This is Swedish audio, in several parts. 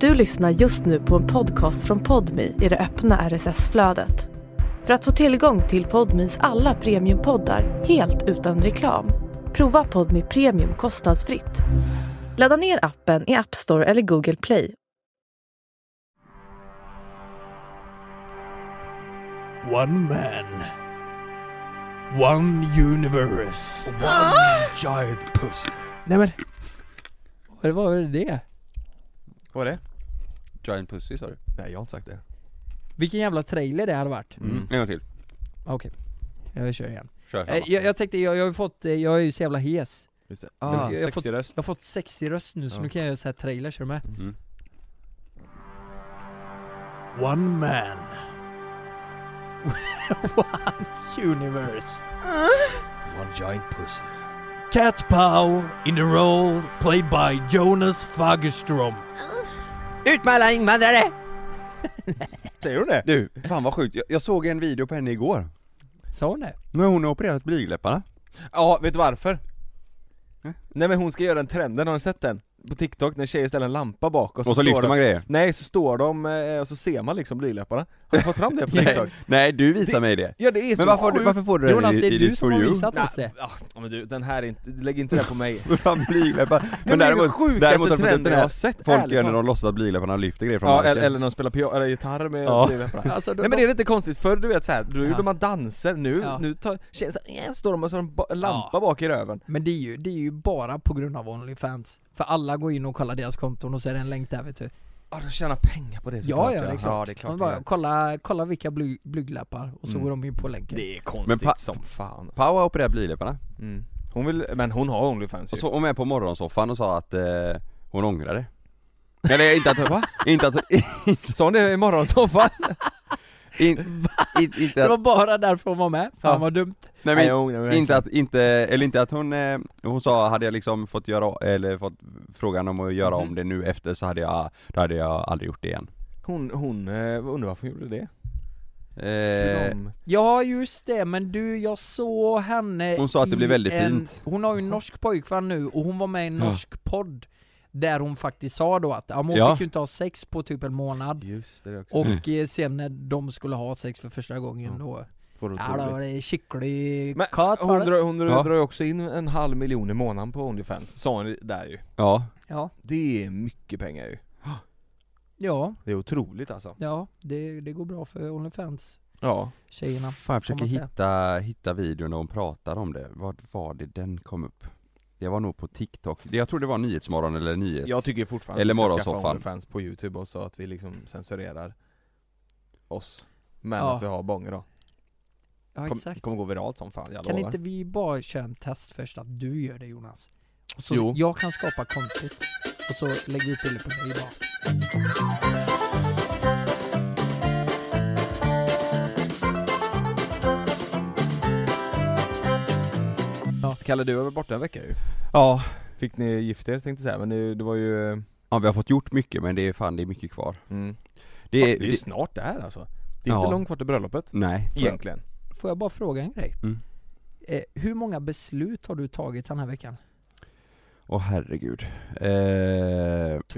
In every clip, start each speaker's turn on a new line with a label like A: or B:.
A: Du lyssnar just nu på en podcast från Podmi i det öppna RSS-flödet. För att få tillgång till Podmis alla premiumpoddar helt utan reklam, prova Podmi Premium kostnadsfritt. Ladda ner appen i App Store eller Google Play.
B: One man. One universe.
C: Giant pussy.
B: Nej men. Vad var det?
D: Vad var det?
C: Giant pussy sa du? Nej jag har inte sagt det.
B: Vilken jävla trailer det hade varit.
C: Mm. En gång till.
B: Okej. Jag kör igen.
C: Kör
B: Eh, Jag, jag tänkte, jag, jag har ju fått, eh, jag är ju så jävla hes.
D: Just det.
B: Ah,
D: Men,
B: jag har
D: sexig röst.
B: Jag har fått sexig röst nu så
D: Ja.
B: nu kan jag göra så här trailers, är du med?
C: Mm.
B: One man. One universe.
C: One giant pussy.
B: Cat Pow in the role played by Jonas Fagerström.
C: Ut med alla invandrare!
D: Säger hon det?
C: Du, fan vad sjukt. Jag, jag såg en video på henne igår.
B: Sa hon det?
C: Nu har hon opererat blygdläpparna.
D: Ja, vet du varför?
C: Nej.
D: Nej men hon ska göra den trenden, har ni sett den? På TikTok när tjejer ställer en lampa bak och
C: Och
D: så,
C: så,
D: står
C: lyfter
D: de...
C: man grejer.
D: Nej, så står de eh, och så ser man liksom blygdläpparna. Har du fått fram det på TikTok?
C: Nej, du visar
D: Det-
C: mig det.
D: Ja det är så
C: Men varför,
D: sjukt.
C: varför får du
B: Jonas,
C: det i,
B: det
C: i
B: är du
C: ditt
B: som
C: for
B: har
C: you?
B: visat oss
D: Nej,
B: det.
D: ah, ja, men du, den här är inte, lägg inte den på mig.
C: Fan, blygdläppar.
D: Men
C: Men
D: det är den
C: däremot, däremot
D: sjukaste
C: har de fått upp
D: trenden
C: den
D: jag har
C: här
D: sett,
C: folk
D: ärligt
C: gör när
D: talat.
C: de låtsas att blygdläpparna lyfter grejer från
D: Ja,
C: marken.
D: eller, eller när de spelar pia- eller gitarr med
C: Ja.
D: blygdläpparna.
B: Alltså, de,
D: Nej men det är lite konstigt, förr du vet såhär, då
B: Ja.
D: gjorde man danser, nu,
B: Ja.
D: nu tar, känns, äh, står de och så har de ba- en lampa bak i röven
B: Men det är, ju, det är ju bara på grund av Onlyfans. För alla går in och kollar deras konton och ser en länk där vet du.
D: Ja de tjänar pengar på det
B: Ja, ja, det är klart.
D: Ja, det är klart
B: Man
D: det,
B: bara,
D: gör.
B: kolla, kolla vilka bly, blygdlappar och så
D: Mm.
B: går de in på länken.
D: det är konstigt
C: Men pa-
D: som fan
C: Pau har opererat blygdläpparna.
D: mm. Hon vill, men hon har Onlyfans ju
C: Och så var hon med på morgonsoffan och sa att eh, hon ångrar det. Eller inte att, va? Inte att,
D: Sa hon det i morgonsoffan?
C: in, in, inte
B: Det var
C: att,
B: bara därför hon var med. Fan
D: Ja.
B: vad dumt.
C: nej, men,
D: hon, hon,
C: inte att, inte, eller inte att hon, eh, hon sa hade jag liksom fått göra, eller fått frågan om att göra om det nu efter så hade jag, då hade jag aldrig gjort det igen.
D: hon, hon eh, undrar varför hon gjorde det?
C: Eh,
D: De-
B: Ja just det, men du jag såg henne
C: Hon sa att det
B: i
C: blir väldigt
B: en,
C: fint.
B: Hon har ju en norsk pojkvän nu och hon var med i en
C: Ja.
B: norsk podd Där hon faktiskt sa då att ja, men hon
C: Ja. Mm.
B: fick ju inte ha sex på typ en månad
D: Just det, det är också
B: Och eh, sen när de skulle ha sex för första gången
D: Ja.
B: då
D: Får du
B: Ja då var
D: otroligt.
B: det kycklig
D: Men
B: katt
D: hon
B: var det?
D: drar, hon drar,
C: Ja.
D: drar ju också in en halv miljon i månaden på Onlyfans, sa hon där ju
C: ja.
B: Ja,
D: Det är mycket pengar ju
B: ja,
D: Det är otroligt alltså
B: ja det, det går bra för Onlyfans
D: Ja
B: tjejerna
C: Fan jag
B: Får
C: försöker
B: man
C: hitta, hitta videon när hon pratar om det. Vad var det den kom upp? Det var nog på TikTok. Det- Jag tror det var Nyhetsmorgon eller Nyhets...
D: Jag tycker fortfarande
C: Eller
D: att vi ska
C: morgonsoffan.
D: skaffa Onlyfans på youtube och så att vi liksom censurerar oss Men
B: Ja.
D: att vi har bånger då
B: Ja
D: Kom,
B: exakt
D: Kommer gå viralt som fan, jag
B: Kan
D: lovar
B: inte vi bara köra en test först att du gör det Jonas? Och så
D: Jo.
B: jag kan skapa kontot och så lägger vi upp bilder på dig bara
D: Kalle du var väl borta en vecka ju?
C: Ja.
D: Fick ni gift er tänkte jag säga, men det, det var ju...
C: ja, vi har fått gjort mycket men det är fan det är mycket kvar.
D: Mm.
C: Det är...
D: det är ju
C: det-
D: snart där alltså Det är
C: Ja.
D: inte långt kvar till bröllopet
C: nej.
D: Egentligen
B: Får jag bara fråga en grej?
C: Mm.
B: Eh, hur många beslut har du tagit den här veckan?
C: Åh herregud. Eh,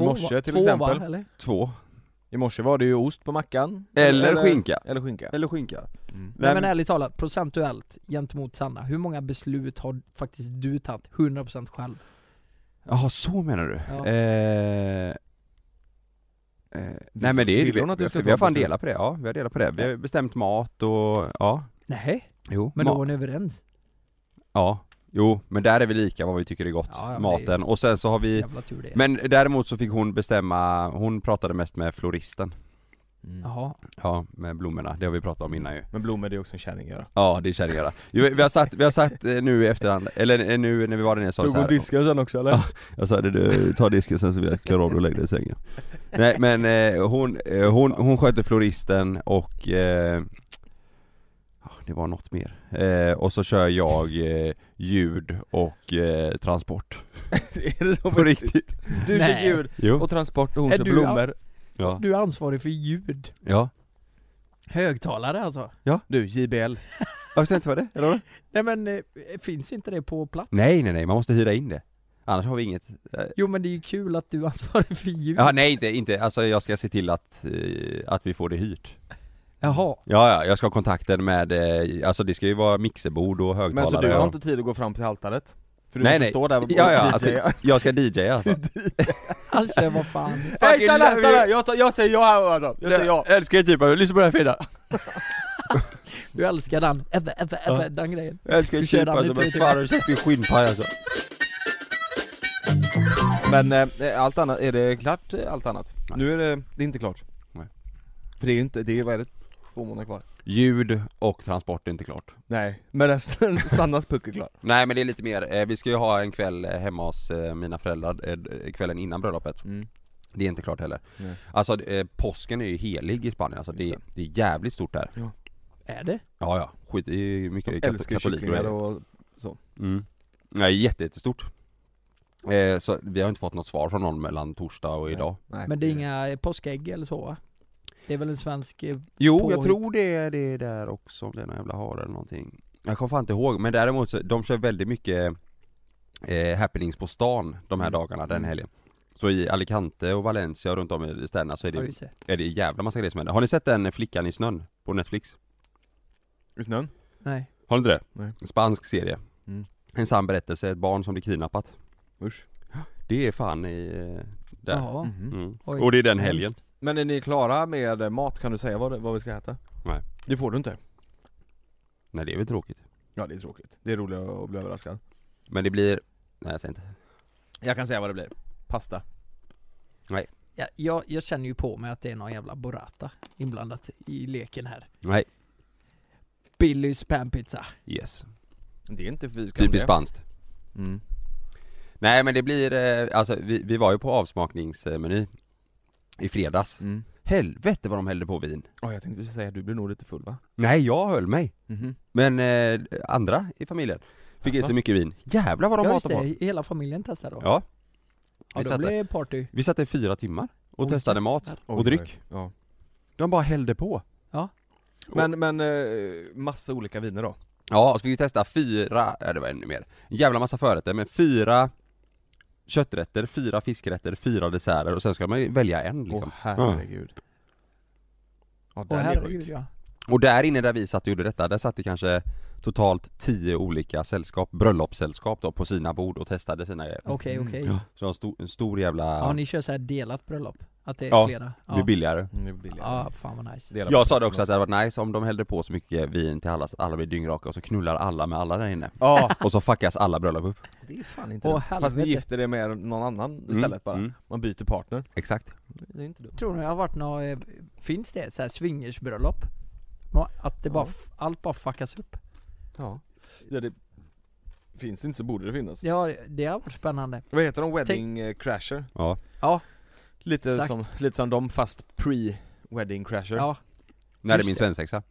D: morse
B: va?
D: till
B: Två,
D: exempel.
B: Va, eller?
C: två.
D: I morse var det ju ost på mackan
C: Eller, skinka.
D: Eller skinka
C: Eller skinka.
D: mm.
B: Nej men ärligt talat, procentuellt gentemot Sanna, hur många beslut har faktiskt du tagit 100% själv?
C: Jaha, så menar du?
B: Ja.
C: Eh, eh, nej men det är
D: Vill hon att du
C: vi,
D: ska
C: vi,
D: ta
C: har fan
D: bort det?
C: delat på det, ja vi har delat på det. Vi har bestämt mat och ja,
B: Nej,
C: jo.
B: men
C: ma-
B: då var ni överens?
C: Ja, jo, men där är vi lika vad vi tycker är gott,
B: Ja, ja,
C: maten. Och sen så har vi,
B: Jävla tur det.
C: men däremot så fick hon bestämma, hon pratade mest med floristen.
D: Mm.
B: Jaha,
C: Ja, med blommorna, det har vi pratat om innan ju.
D: Men blommor det är också en kärring göra
C: Ja, det är kärringarna. Jo, Vi har satt, vi har satt eh, nu i efterhand, eller eh, nu när vi var där nere sa vi så här,
D: sen också eller?
C: Ja. Jag sa det, du ta disken sen så vill jag klara av det och lägga dig i sängen Nej men eh, hon, eh, hon, hon skötte floristen och eh, ah, Det var något mer eh, Och så kör jag eh, ljud och eh, transport
D: är det så
C: På riktigt
D: Du kör
B: Nej.
D: ljud
C: Jo,
D: och transport och hon
B: Är
D: kör
B: du-
D: blommor
C: ja,
B: du är ansvarig för ljud.
C: ja
B: Högtalare alltså?
D: Du, JBL
C: Jag inte vad det
B: Nej men, eh, finns inte det på plats?
C: Nej nej nej, man måste hyra in det Annars har vi inget eh,
B: Jo men det är ju kul att du ansvarar för ljud.
C: Ja, nej inte, inte, alltså jag ska se till att, eh, att vi får det hyrt
B: Jaha.
C: Ja, ja, jag ska ha kontakten med, eh, alltså det ska ju vara mixerbord och högtalare
D: Men så du har
C: och-
D: inte tid att gå fram till altaret? För du
C: Nej,
D: måste
C: nej.
D: stå där och
C: Ja, ja,
D: och
C: alltså,
D: DJa.
C: jag ska DJa alltså
B: Alltså vad fan.
D: Hej Sanna, Sanna! Jag, tar, jag säger ja här alltså. Jag säger ja.
C: älskar typ av, lyssna på den här fina
B: Du älskar den. Ebbe, ebbe, ebbe, den grejen.
C: Jag älskar
B: Vi
C: ju
B: kör
C: typ
B: den
C: alltså,
B: lite
C: men
B: lite.
C: fan har du sett min skinnpaj alltså?
D: Men eh, allt annat, är det klart eh, allt annat?
C: Nej.
D: Nu är det, det är inte klart.
C: Nej.
D: För det är ju inte, det är ju, vad är det? Två månader kvar.
C: Ljud och transport är inte klart
D: Nej, men resten, Sannas puck är klar.
C: Nej men det är lite mer, eh, vi ska ju ha en kväll eh, hemma hos eh, mina föräldrar, eh, kvällen innan bröllopet
D: Mm.
C: Det är inte klart heller
D: Nej.
C: Alltså eh, påsken är ju helig i Spanien alltså, det,
D: Just
C: det är jävligt stort där
B: Är det?
C: Ja ja, skit, det är ju mycket
D: Jag älskar
C: katoliker
D: kycklingar
C: och
D: och
C: Mm. Nej, jätte, jättestort. Eh, så vi har inte fått något svar från någon mellan torsdag och idag.
D: Nej,
B: Men det är inga eh, påskägg eller så va? Det är väl en svensk... eh,
C: Jo,
B: Påhitt.
C: jag tror det är det där också, om det är någon jävla hare eller någonting. Jag kommer fan inte ihåg, men däremot så, de kör väldigt mycket eh, happenings på stan de här
D: Mm.
C: dagarna, den
D: Mm.
C: helgen. Så i Alicante och Valencia och runt om i städerna så är
B: Ja,
C: det,
B: just det.
C: är det jävla massa grejer som händer. Har ni sett den Flickan i snön? På Netflix?
D: I snön?
B: Nej.
C: Har ni inte det?
D: Nej.
C: En spansk serie.
D: Mm.
C: En sann berättelse, ett barn som blir kidnappat.
D: Usch.
C: Det är fan i... eh, Där.
B: Jaha.
D: Mhm.
C: Mm.
B: Oj.
C: Och det är den helgen.
D: Men är ni klara med eh, mat? Kan du säga vad, det- vad vi ska äta?
C: Nej.
D: Det får du inte.
C: Nej det är väl tråkigt.
D: Ja det är tråkigt. Det är roligt att bli överraskad.
C: Men det blir, nej jag säger inte.
D: Jag kan säga vad det blir. Pasta.
B: Ja, jag, jag känner ju på mig att det är någon jävla burrata inblandat i leken här.
C: Nej.
B: Billys panpizza.
C: Yes.
D: Det är inte fy skam
C: Typiskt
D: det.
C: spanskt.
D: Mm.
C: Nej men det blir, eh, alltså vi, vi var ju på avsmakningsmeny i fredags.
D: Mm.
C: Helvete vad de hällde på vin.
D: Åh, jag tänkte precis säga, du blir nog lite full va?
C: Nej jag höll mig.
D: Mhm.
C: Men eh, andra i familjen fick i
D: Jaså?
C: sig mycket vin. Jävlar vad de
B: ja just
C: matade på.
B: det, hela familjen testar då.
C: Ja.
B: ja
C: Vi
B: då
C: satt,
B: blir
C: där.
B: det party.
C: vi satt i fyra timmar och
B: Oj,
C: testade mat
B: jävlar.
C: och
D: Oj,
C: dryck.
D: oj. Ja.
C: De bara hällde på.
D: Men, men eh, massa olika viner då?
C: Ja, och så fick vi testa fyra, ja det var ännu mer, en jävla massa förrätter, men fyra kötträtter, fyra fiskrätter, fyra desserter och sen ska man ju välja en
D: Åh
C: liksom.
D: herregud. Ja,
B: Åh
D: den är sjuk.
B: herregud ja.
C: Och där inne där vi satt och gjorde detta, där satt det kanske totalt tio olika sällskap, bröllopssällskap då, på sina bord och testade sina grejer.
B: Okej
D: Mm.
B: okej.
C: Ja. Så en stor, en stor jävla,
B: Ja ni kör såhär delat bröllop? Att det är
C: Ja,
B: flera?
C: det blir billigare.
D: Mm, det är billigare.
B: Ja fan vad nice.
D: Dela på
C: Jag sa det
D: festen
C: också att det hade varit nice om de hällde på så mycket vin till alla så att alla blir dyngraka och så knullar alla med alla där inne.
D: Ja,
C: Och så fuckas alla bröllop upp.
D: det är fan inte
B: Åh
D: dumt. Fast ni
B: helvete.
D: gifter er med någon annan istället bara.
C: Mm, mm,
D: Man byter partner.
C: exakt.
D: Det är inte dumt.
B: Tror ni det har varit något, eh, finns det såhär swingersbröllop? Ma- Att det bara,
D: Ja.
B: f- allt bara fuckas upp?
D: Ja. ja det finns inte så borde det finnas.
B: Ja det har varit spännande.
D: Vad heter de? Wedding eh, crasher?
C: Ja.
B: Ja.
D: Lite
B: Exakt.
D: som, lite som de fast pre wedding crasher.
B: Ja.
C: När det
B: Just
C: är min
B: det.
C: svensexa.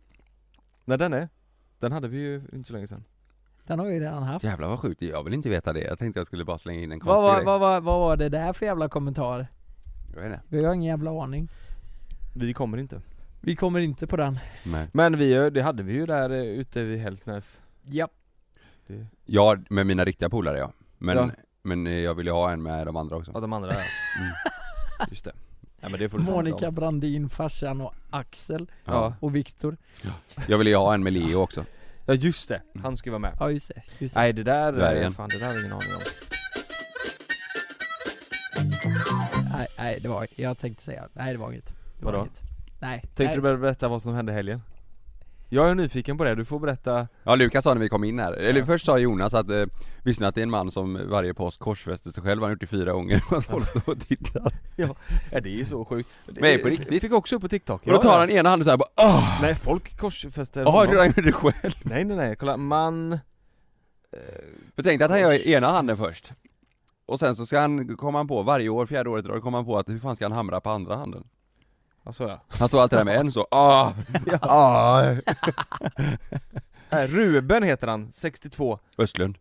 D: När den är? Den hade vi ju inte så länge sedan.
B: Den har vi redan haft.
C: Jävlar vad sjukt, jag vill inte veta det. Jag tänkte jag skulle bara slänga in en konstig
B: Vad var,
C: grej.
B: vad, var, vad var det där för jävla kommentar?
C: Jag vet inte.
B: Vi har ingen jävla aning.
D: Vi kommer inte.
B: Vi kommer inte på den.
C: Nej.
D: Men vi, det hade vi ju där eh, ute vid Hällsnäs.
B: Japp.
D: Det,
C: Ja, med mina riktiga polare ja. Men,
D: Ja.
C: men eh, jag vill ju ha en med de andra också.
D: ja, de andra där.
C: Mm.
D: Just det. Ja, men det får du ta med
B: Monica
D: dem.
B: Brandin, farsan och Axel
C: Ja.
B: och Viktor.
C: Jag vill ju ha en med Leo också.
D: Ja just det, han ska ju vara med.
B: Ja just det. Just det.
D: Mm. Nej det där,
C: Dvärgen.
D: fan det där har jag ingen aning om.
B: Nej, nej, det var, jag tänkte säga, nej det var inget. Det var
D: Vadå?
B: inget. Nej.
D: Tänkte
B: nej.
D: du börja berätta vad som hände i helgen? Jag är nyfiken på det, du får berätta
C: Ja Lukas sa när vi kom in här, eller först sa Jonas att eh, Visste ni att det är en man som varje påsk korsfäster sig själv? Han har gjort det fyra gånger och att folk står och tittar
D: Ja det är ju så sjukt
C: Nej, på riktigt.
D: Vi fick också upp på TikTok
C: Och då tar han ena handen såhär bara åh!
D: Nej folk korsfäster
C: Jaha,
D: honom.
C: du han gjorde det själv?
D: Nej nej nej, kolla man
C: För tänkte att han gör ena handen först Och sen så ska han, komma han på, varje år, fjärde året i rad, kommer han på att hur fan ska han hamra på andra handen?
D: Alltså ja
C: Han står alltid där med en så, ah, ah.
D: Nej, Ruben heter han, 62
C: Östlund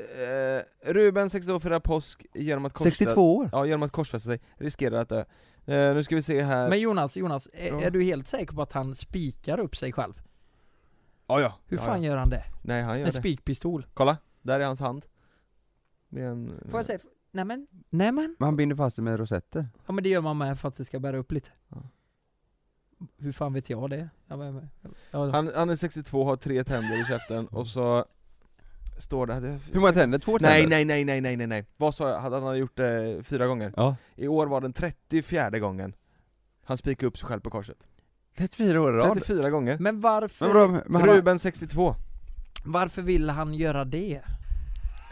D: Eh, Ruben 62 firar påsk genom att korsfästa
C: år?
D: Ja genom att korsfästa sig, riskerar att dö Eh, Nu ska vi se här
B: Men Jonas, Jonas, är,
D: Ja.
B: är du helt säker på att han spikar upp sig själv?
D: ja, ja.
B: Hur
D: ja,
B: fan
D: ja.
B: gör han det?
D: Nej han gör
B: Med
D: det Mm.
B: spikpistol?
D: Kolla, där är hans hand Det är en...
B: Får jag säga, nej men, nej men,
C: Man binder fast det med rosetter.
B: ja men det gör man med för att det ska bära upp lite
D: Ja.
B: Hur fan vet jag det? Jag, var- jag, jag,
D: han, han är 62, har tre tänder i käften och så står det...
C: Hur många tänder? Två tänder?
D: Nej, nej, nej, nej, nej, nej, nej. Vad sa jag? Hade Han hade gjort det fyra gånger.
C: Ja.
D: I år var den 34 gången. Han spikade upp sig själv på korset.
C: 34 år i rad.
D: 34 gånger.
B: men
C: Men
B: varför,
C: vadå, men han,
D: Ruben 62.
B: varför vill han göra det?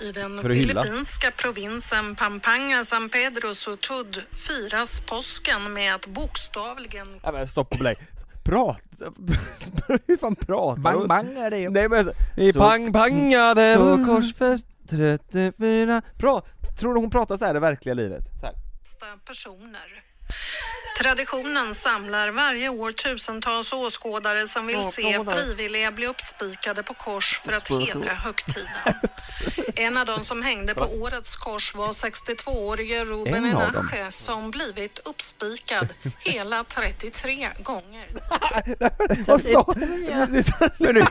E: I den
C: För att hylla.
E: filippinska provinsen Pampanga, San Pedro Sotod firas påsken med att bokstavligen
D: Nej men stopp och belägg. Prat! Hur fan pratar
B: Bang
D: du?
B: bang är det ju
D: Nej men alltså,
C: I
D: Så-
C: pangpangade
D: Så Mm. korsfäst 34 Bra! Tror du hon pratar så här i verkliga livet? Så här.
E: flesta personer. Traditionen samlar varje år tusentals åskådare som vill se frivilliga bli uppspikade på kors för att hedra högtiden. En av de som hängde på årets kors var 62-årige Ruben
C: En av dem.
E: Enache som blivit uppspikad hela 33 gånger.
D: Vad sa Lyssna nu!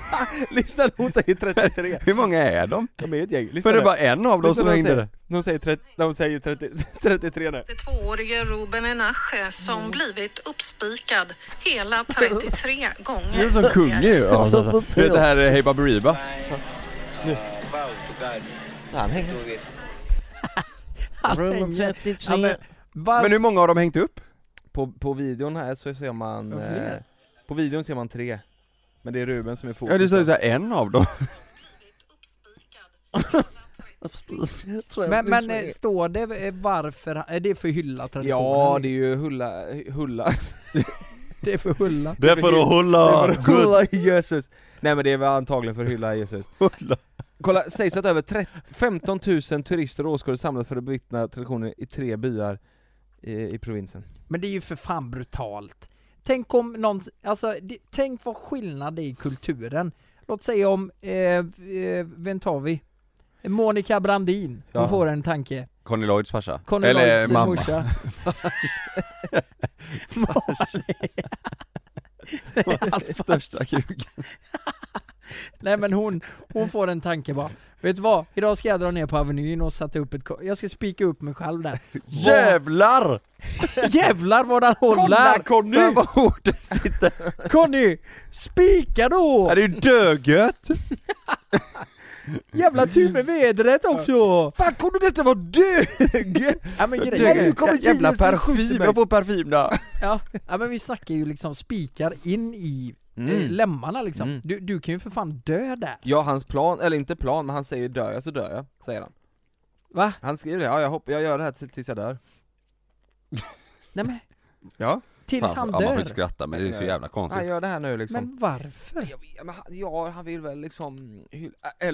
D: Lyssna, hon säger 33.
C: Hur många är de?
D: De är ett gäng. Lyssna
C: För det
D: nu.
C: är bara en av dem
D: Lyssna
C: som
D: vad de
C: hängde
D: säger.
C: det.
D: De säger, 30, de säger 30, 33 nu.
E: 52-årige Ruben Enache som blivit uppspikad hela 33
C: Mm. Det är
E: gånger.
C: som kung ju. Ja, det här är Hey Baberiba.
D: Han hänger.
B: Ruben 33 ja, men,
C: Men
B: varför,
C: hur många har de hängt upp?
D: På, på videon här så ser man...
B: Ja, fler.
D: eh, På videon ser man tre. Men det är Ruben som är fokus.
C: Ja det står ju såhär, en av dem.
B: men, men, eh, står det eh, varför, han- är det för hylla traditionen?
D: Ja,
B: eller?
D: det är ju Hulla... Hulla...
B: det är för hylla
C: Det är för att hålla
D: Hulla Jesus! Nej men det är väl antagligen för att hylla Jesus. Kolla, sägs att över 30, 15 000 turister och åskådare samlats för att bevittna traditionen i tre byar i, i provinsen.
B: Men det är ju för fan brutalt. Tänk om någon, alltså det, tänk vad skillnad det är i kulturen. Låt säga om, eh, eh, vem tar vi? Monica Brandin, hon
D: Ja.
B: får en tanke.
C: Conny Lloyds farsa.
B: Conny
C: Eller
B: Lloyds
C: mamma.
B: morsa.
C: Största kuk.
B: Nej men hon, hon får en tanke bara. Vet du vad? Idag ska jag dra ner på Avenyn och sätta upp ett ko- jag ska spika upp mig själv där.
C: Jävlar!
B: Jävlar vad den håller!
C: Conny! Vad hårt det sitter.
B: Conny! Spika
C: Ja,
B: då!
C: Det är ju dögött!
B: Jävla tur med vädret också!
C: Fan kommer detta vara dögött?
B: Ja, men grejen,
C: Dögött. Jävla parfym, jag får parfym där.
B: Ja, ja men vi snackar ju liksom spikar in i eh,
D: Mm.
B: lemmarna liksom.
D: Mm.
B: Du, du kan ju för fan dö där.
D: Ja, hans plan, eller inte plan, men han säger dör jag så dör jag, säger han.
B: Va?
D: Han skriver det, ja jag, hopp, jag gör det här till- tills jag dör.
B: Nej men,
D: Ja,
B: tills
C: Fan,
B: han
C: ja, man får
B: dör.
C: inte skratta men det är så jävla
D: han
C: konstigt.
D: gör det här nu liksom.
B: men varför?
D: Jag vet- men han- ja, han vill väl liksom hylla, eller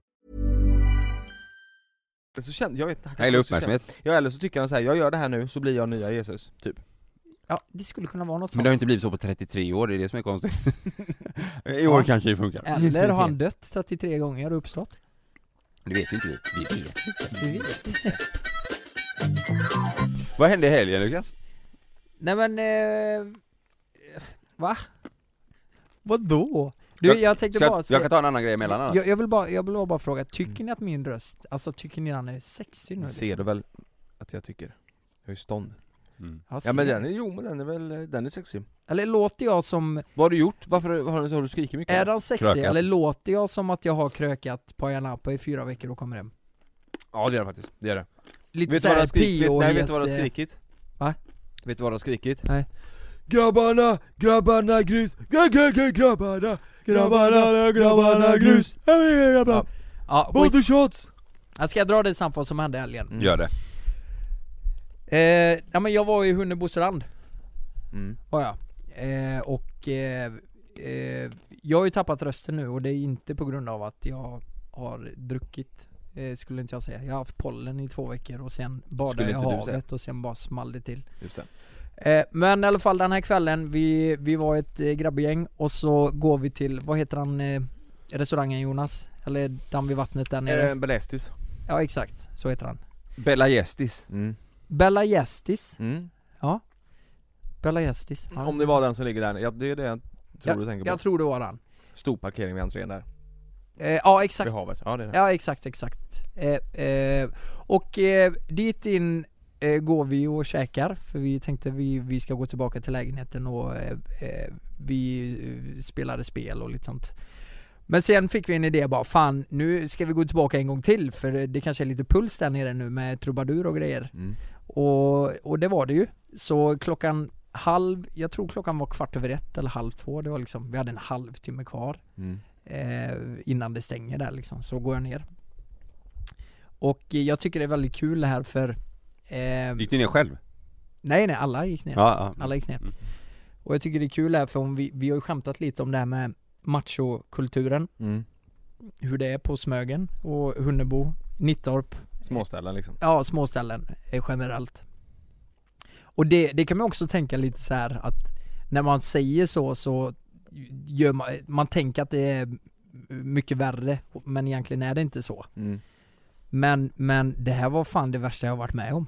D: så känner, jag vet han
C: Han gillar
D: kanske också
C: uppmärksamhet.
D: känner- Ja eller så tycker han så här, jag gör det här nu så blir jag nya Jesus, typ.
B: Ja, det skulle kunna vara något
C: Men
B: sånt.
C: det har inte blivit så på 33 år, det är det som är konstigt. I år
B: Ja.
C: kanske det funkar.
B: Eller har han dött 33 gånger och uppstått?
C: Det vet ju inte vi. Vi vet.
B: Vi vet.
C: Vad hände i helgen Lukas?
B: Nej men, eh, va? Vadå? Du, jag, tänkte
C: Ska jag,
B: bara
C: jag kan ta en annan grej emellan annars.
B: jag, jag vill bara, jag vill bara fråga,
D: Mm.
B: tycker ni att min röst, alltså tycker ni att han är sexig nu? liksom?
D: Ser du väl att jag tycker? Jag är i stånd.
C: Mm.
B: Ja,
D: Ja
B: ser
D: men
B: du?
D: den är, jo men den är väl, den är sexig.
B: Alltså, Eller låter jag som
D: Vad har du gjort? Varför har du, har du skrikit mycket?
B: Är han sexig
C: Krökat.
B: eller låter jag som att jag har krökat på Ayia Napa i fyra veckor och kommer hem?
D: Ja det gör det faktiskt, det gör det.
B: Lite
D: Vet du vad du har
B: såhär
D: skrikit?
B: pio
D: Nej, vet du vad du har skrikit?
B: Va?
D: Vet du vad du har skrikit?
B: Nej.
D: Grabbarna, grabbarna grus, gra, gra, gra, grabbarna, grabbarna, grabbarna grus,
B: Ja, ja skit.
D: body shots!
B: Jag ska dra det snabbt vad som hände i helgen.
D: Mm.
C: Gör det.
B: Eh, ja men jag var i Hunnebostrand,
D: Mm.
B: var jag. Eh, och eh, eh, jag har ju tappat rösten nu och det är inte på grund av att jag har druckit eh, Skulle inte jag säga. Jag har haft pollen i två veckor och sen badade
C: Skulle
B: jag i
C: inte du säga.
B: havet och sen bara small det till.
D: Just det.
B: Eh, men i alla fall den här kvällen, vi, vi var ett eh, grabbgäng och så går vi till, vad heter han, eh, restaurangen Jonas? Eller den vid vattnet där nere?
D: Eh, Belästis.
B: Ja exakt, så heter han.
C: Bella Gestis.
D: Mm.
B: Bella Gestis.
D: Mm.
B: Bella Gestis. Ja.
D: Om det var den som ligger där, ja, det är det jag tror du tänker på.
B: Jag tror det var han.
D: Stor parkering vid entrén där,
B: Eh, ja exakt.
D: vid havet. Ja det är det.
B: Ja exakt, exakt. Eh, eh, och eh, dit in eh, går vi och käkar för vi tänkte vi, vi ska gå tillbaka till lägenheten och eh, eh, vi eh, spelade spel och lite sånt. Men sen fick vi en idé bara, fan nu ska vi gå tillbaka en gång till för det kanske är lite puls där nere nu med trubadur och grejer.
D: Mm.
B: Och, och det var det ju. Så klockan halv, jag tror klockan var kvart över ett eller halv två, det var liksom, vi hade en halvtimme kvar
D: Mm.
B: eh, innan det stänger där liksom, så går jag ner. Och eh, jag tycker det är väldigt kul det här för eh,
C: Gick ni ner själv?
B: Nej nej, alla gick ner.
C: Ja, ja.
B: Alla gick ner.
C: Mm.
B: Och jag tycker det är kul det här för om vi, vi har ju skämtat lite om det här med machokulturen,
D: Mm.
B: hur det är på Smögen och Hunnebo, Nittorp,
D: Småställen liksom.
B: ja småställen eh, generellt. Och det, det kan man också tänka lite så här att när man säger så så gör man, man tänker att det är mycket värre men egentligen är det inte så.
D: Mm.
B: Men, men det här var fan det värsta jag har varit med om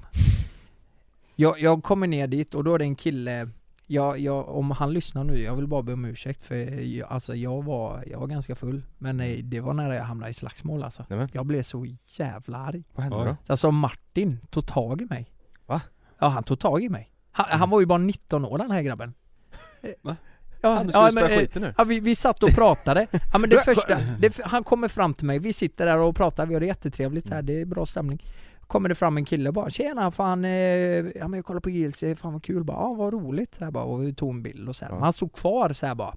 B: jag, jag kommer ner dit och då är det en kille jag, jag, om han lyssnar nu, jag vill bara be om ursäkt för jag, alltså jag var, jag var ganska full Men nej, det var när jag hamnade i slagsmål alltså
D: Nämen.
B: Jag blev så jävla arg
D: Vad hände
C: Ja.
D: då?
B: Alltså Martin tog tag i mig
D: Va?
B: Ja han tog tag i mig Han, han var ju bara 19 år den här grabben
C: Va?
B: Ja,
D: Han
B: ja,
D: skulle
B: men,
D: spöa
B: eh,
D: skiten nu.
B: ja, vi, vi satt och pratade, ja, men det första, det, f- han kommer fram till mig, vi sitter där och pratar, vi har det jättetrevligt så här, det är bra stämning Kommer det fram en kille och bara 'Tjena fan, eh, ja men jag kollar på GLC, fan vad kul' bara 'Ja vad roligt' så här, bara, och vi tog en bild och så här.
D: Ja.
B: Men han stod kvar så här bara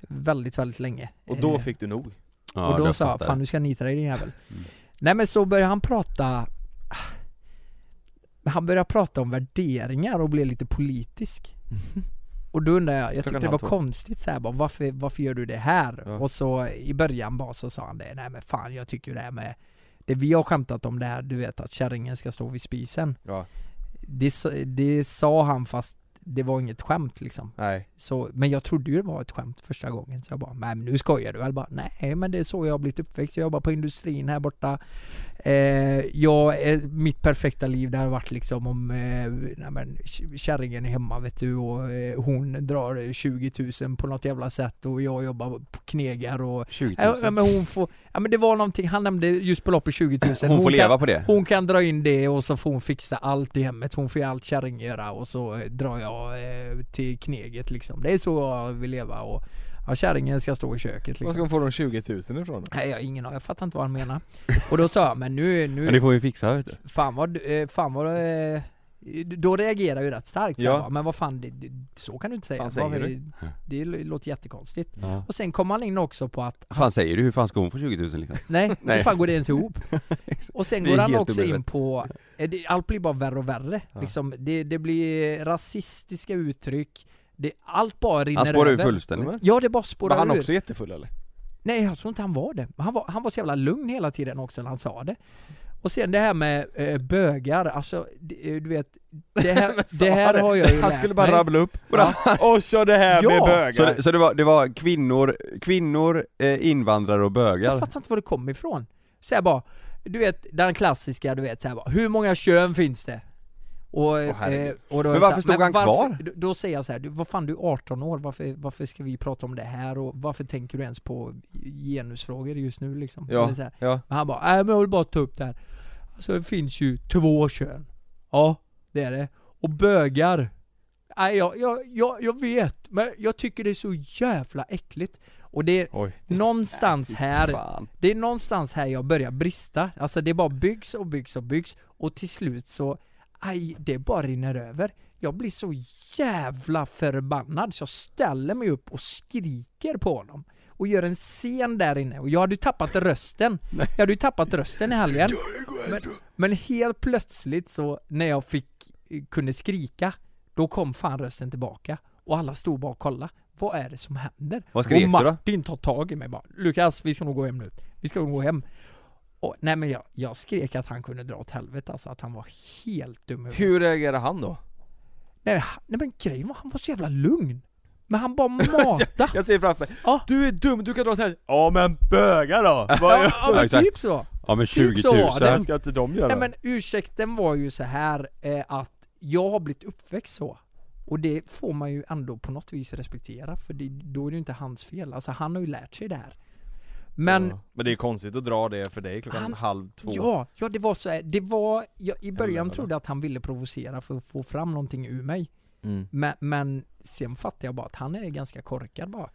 B: Väldigt, väldigt länge
D: Och då
B: Eh,
D: fick du nog.
C: Ja,
B: och då
C: jag
B: sa jag,
C: fattar. Mm.
B: fan du ska nita dig din jävel. Nej men så började han prata Han började prata om värderingar och blev lite politisk.
C: Mm.
B: Och då undrar jag, jag tyckte
D: Klockan
B: det var
D: halv två.
B: konstigt så här, bara, varför, varför gör du det här?
D: Ja.
B: Och så i början bara så sa han det, nej men fan jag tycker det här med Det vi har skämtat om det här, du vet att kärringen ska stå vid spisen.
D: Ja.
B: Det, sa- det sa han fast det var inget skämt liksom.
D: Nej.
B: Så, men jag trodde ju det var ett skämt första gången så jag bara Nej men nu skojar du väl? bara Nej men det är så jag har blivit uppväxt, jag jobbar på industrin här borta eh, jag, eh, Mitt perfekta liv det har varit liksom om eh, nej, men, k- Kärringen är hemma vet du och eh, hon drar 20 000 på något jävla sätt och jag jobbar på knegar och
C: 20 000.
B: Ja men hon får, ja men det var någonting, han nämnde just beloppet 20 000
C: Hon får
B: kan-
C: leva på det.
B: äh, hon kan dra in det och så får hon fixa allt i hemmet, hon får ju allt kärring göra och så eh, drar jag eh, till kneget liksom. Det är så jag vill leva och ja, kärringen ska stå i köket
D: Var ska
B: liksom.
D: hon få de 20 000 ifrån då?
B: Nej jag har ingen aning, jag fattar inte vad han menar. Och då sa jag, men nu,
C: Men det
B: nu,
C: får vi fixa vet du.
B: fan vad, du- eh, fan vad, eh, då reagerar jag ju rätt starkt.
D: Ja.
B: Ja. Bara, men vad fan, det, det, så kan du inte säga.
D: Fan säger
B: Vad-
D: du?
B: Det, det låter jättekonstigt.
C: Ja.
B: Och sen kom han in också på att
C: Vad fan säger du? Hur fan ska hon få 20 000 liksom?
B: Nej,
C: Nej.
B: hur fan går det ens ihop? och sen
C: Det är
B: går han
C: helt
B: också in
C: omöjligt.
B: på, eh, det, allt blir bara värre och värre. Liksom, det, det blir rasistiska uttryck, det, Mm. allt bara rinner
C: Han spårar ur
B: över.
C: fullständigt.
B: Ja det bara
D: Var
B: spårar
D: han
B: ur.
D: också jättefull eller?
B: Nej jag tror inte han var det. Han var, han var så jävla lugn hela tiden också när han sa det. Och sen det här med eh, bögar, alltså det, eh, du vet, det
D: Men
B: här,
D: sa
B: det här
D: det.
B: har jag ju
D: Han
B: lärt
D: skulle bara
B: mig.
D: rabbla upp. Och så det här
B: Ja.
D: med bögar.
C: Så, det- så det, var, det var kvinnor, kvinnor eh, invandrare och
B: Jag
C: bögar?
B: fattar inte var det kom ifrån. Så jag bara, du vet den klassiska, du vet så här bara, hur många kön finns det? Och,
D: herregud.
B: eh, och då är
C: Men
B: jag
C: varför
B: så här,
C: stod han
B: varför-
C: kvar?
B: Då, då säger jag så här, du, vad fan du är 18 år, varför, varför ska vi prata om det här och varför tänker du ens på genusfrågor just nu liksom?
D: Ja,
B: Eller så här.
D: ja.
B: Men han bara, nej men jag vill bara ta upp det här. Alltså det finns ju två kön. Ja, det är det. Och bögar. Nej jag, jag, jag, jag vet, men jag tycker det är så jävla äckligt. Och det är
D: Oj.
B: någonstans här
C: Fan.
B: det är någonstans här jag börjar brista, alltså det bara byggs och byggs och byggs och till slut så, aj, det bara rinner över. Jag blir så jävla förbannad så jag ställer mig upp och skriker på honom. Och gör en scen där inne, och jag hade ju tappat rösten. Jag hade ju tappat rösten i helgen. Men, men helt plötsligt så, när jag fick, eh, kunde skrika, då kom fan rösten tillbaka. Och alla stod bara och kollade. Vad är det som händer?
C: Vad skrek
B: och
C: du då?
B: Martin tar tag i mig bara. Lukas, vi ska nog gå hem nu. Vi Vi ska gå hem. Och, nej men jag, jag skrek att han kunde dra åt helvete alltså, att han var helt dum i huvudet.
D: Hur reagerar han då?
B: nej, han- nej men grejen var, han var så jävla lugn. Men han bara matade.
D: Jag ser framför mig,
B: Ja.
D: du är dum, du kan dra åt helvete. Ja men bögar då! Vad
B: Ja,
D: gör-
B: ja men
C: exakt.
B: typ så.
C: Ja men 20
B: Typ så
C: 000.
B: var det.
D: ska inte de göra?
B: Nej men ursäkten var ju så här eh, att jag har blivit uppväxt så. Och det får man ju ändå på något vis respektera för det, då är det ju inte hans fel. Alltså han har ju lärt sig det här. Men
D: Ja. men det är konstigt att dra det för dig klockan
B: Han-
D: halv två.
B: Ja, ja det var så här. Det var, jag i början
D: Jävlar.
B: trodde jag att han ville provocera för att få fram någonting ur mig.
D: Mm.
B: Men, men sen fattade jag bara att han är ganska korkad bara.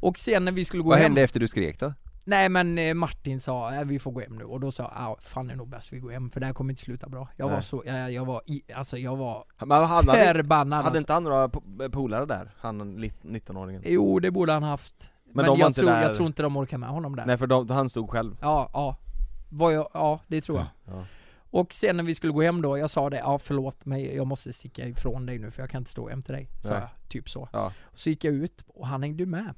B: Och sen när vi skulle gå
C: Vad
B: hem,
C: hände efter du skrek då?
B: nej men eh, Martin sa "Äh, vi får gå hem nu och då sa jag "Ah, fan det är nog bäst vi går hem för det här kommer inte sluta bra. Jag var
D: Nej.
B: så, jag, jag var, i, alltså jag var
D: Men han hade,
B: förbannad
D: hade
B: alltså.
D: inte han några po- polare där? Han lit- 19-åringen?
B: Jo det borde han haft. Men,
D: de var
B: jag,
D: inte
B: tror,
D: där.
B: jag tror inte de orkar med honom där.
D: Nej för de, han stod själv.
B: Ja, ja. Var jag, ja det tror jag.
D: Ja.
B: Och sen när vi skulle gå hem då, jag sa det, ja förlåt mig, jag måste sticka ifrån dig nu för jag kan inte stå hem till dig. Sa
D: Nej.
B: jag, typ så.
D: Ja.
B: Så gick jag ut och han hängde ju med.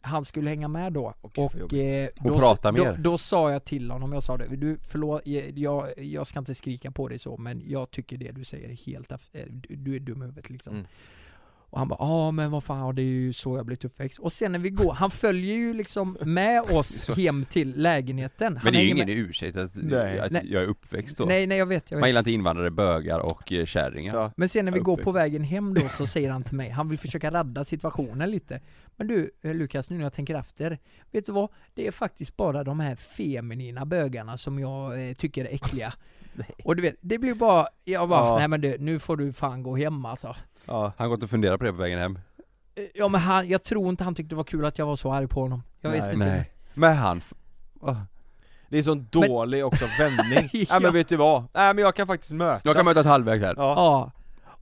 B: Han skulle hänga med då.
D: Åh, gud, vad
B: och eh,
C: Och
B: då,
C: prata
B: då,
C: mer.
B: då sa jag till honom, jag sa det, du förlåt, jag, jag- jag ska inte skrika på dig så men jag tycker det du säger är helt, aff- eh, du, du är dum i huvudet liksom.
D: Mm.
B: Och han bara, ja men vad fan, det är ju så jag blivit uppväxt. Och sen när vi går, han följer ju liksom med oss
C: Så-
B: hem till lägenheten. Han
C: Men det är ju
B: hänger
C: ingen
B: med.
C: ursäkt att,
D: Nej.
C: att
B: Nej.
C: jag är uppväxt då.
B: Nej nej jag vet, jag vet.
C: Man gillar inte invandrare, bögar och eh, kärringar.
D: Ja.
B: Men sen när vi
D: Ja,
B: går
D: uppväxt.
B: på vägen hem då så säger han till mig, han vill försöka radda situationen lite. Men du eh, Lukas, nu när jag tänker efter. Vet du vad? Det är faktiskt bara de här feminina bögarna som jag eh, tycker är äckliga. och du vet, det blir bara, jag bara,
D: Ja.
B: nej men du, nu får du fan gå hem alltså.
D: Ja.
C: Han har gått och funderat på det på vägen hem.
B: Eh, Ja men han, jag tror inte han tyckte det var kul att jag var så arg på honom. Jag vet
D: Nej.
B: inte.
C: Nej. Men han...
D: Det är sån
B: Men-
D: dålig också vändning.
B: Ja.
D: Nej men vet du vad? Nej men jag kan faktiskt möta.
C: Jag kan mötas halvvägs här.
D: Ja.
B: Ja.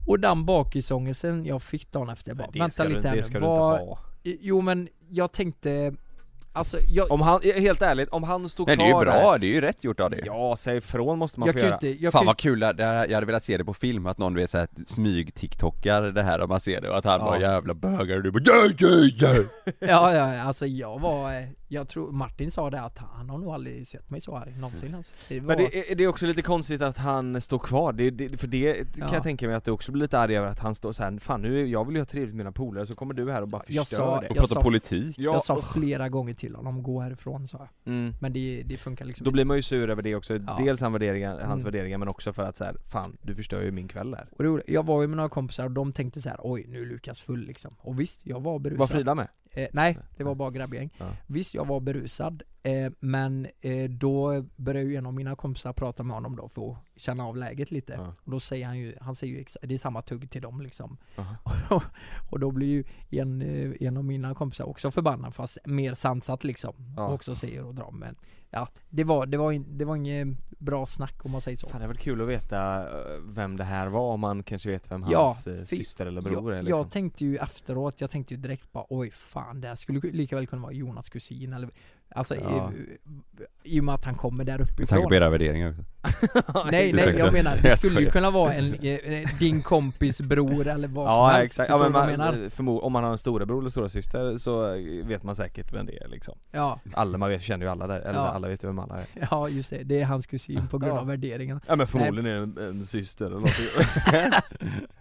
B: Och den bakisångelsen jag fick dagen efter, jag bara,
D: det
B: vänta
D: ska
B: lite
D: du,
B: här
D: det
B: nu.
D: ska du
B: Vad-
D: inte ha.
B: Jo men jag tänkte, alltså jag,
D: Om han, helt ärligt, om han stod
C: Nej det är ju
D: kvar där-
C: bra, det är ju rätt gjort av dig.
D: Ja, säg ifrån måste man
B: jag
D: få
B: kan ju
D: göra.
B: inte, jag
C: Fan
B: kan ju
C: vad kul, det här- jag hade velat se det på film, att någon du vet såhär smyg-tiktokar det här och man ser det och att han
D: Ja.
C: var jävla bögar och du bara yeah, yeah, yeah.
B: Ja, ja, ja, alltså jag var, eh, jag tror Martin sa det att han har nog aldrig sett mig så arg någonsin alltså. det var,
D: Men det är, det är också lite konstigt att han står kvar, det, det, för det kan
B: Ja.
D: jag tänka mig att du också blir lite arg över att han står såhär, fan nu, är- jag vill ju ha trevligt med mina polare så kommer du här och bara förstör
B: Jag sa
D: det.
B: det.
C: Och
B: Jag
C: prata
B: sa-
C: politik.
D: Ja,
B: Jag sa
D: usch.
B: flera gånger till honom, gå härifrån sa jag.
D: mm.
B: Men det, det funkar liksom
D: Då blir man ju sur över det också,
B: Ja.
D: dels han värderingar,
B: Mm.
D: hans värderingar men också för att såhär, fan du förstör ju min kväll här.
B: inte. Och det, gjorde- jag var ju med några kompisar och de tänkte så här: oj nu är Lukas full liksom. Och visst, jag var
D: Var
B: berusad.
D: Frida med?
B: Eh, nej, det var bara grabbgäng.
D: Ja.
B: Visst, jag var berusad. Eh, men eh, då började ju en av mina kompisar prata med honom då för att känna av läget lite.
D: Ja.
B: Och då säger han ju, han säger ju exa- det är samma tugg till dem liksom.
D: Aha.
B: Och, och då blir ju en, eh, en av mina kompisar också förbannad fast mer sansat liksom.
D: Ja.
B: Och också säger och drar. Men ja, det var, det var, in, det var inget bra snack om man säger så.
D: Fan det hade varit kul att veta eh, vem det här var, om man kanske vet vem
B: Ja,
D: hans eh,
B: fy-
D: syster eller bror
B: jag,
D: är liksom.
B: jag tänkte ju efteråt, jag tänkte ju direkt bara oj fan det här skulle ju lika väl kunna vara Jonas kusin eller Alltså
D: Ja.
B: i, i och med att han kommer där
C: Med tanke
B: uppifrån
C: på era värderingar också.
B: Nej nej
C: Ursäkta.
B: jag menar det
C: Jag
B: skulle ju
C: skojar.
B: kunna vara en, eh, din kompis bror eller vad som
D: Ja
B: helst
D: exakt,
B: Förstår du
D: ja, men
B: vad jag
D: man,
B: menar?
D: förmo- om man har en storebror eller stora syster så eh, vet man säkert vem det är liksom
B: Ja,
D: Alla, man vet, känner ju alla där, eller
B: Ja.
D: så alla vet ju vem alla är
B: ja just det, det är hans kusin på grund
D: Ja.
B: av värderingarna
D: Ja men
B: förmodligen
D: är det en, syster eller något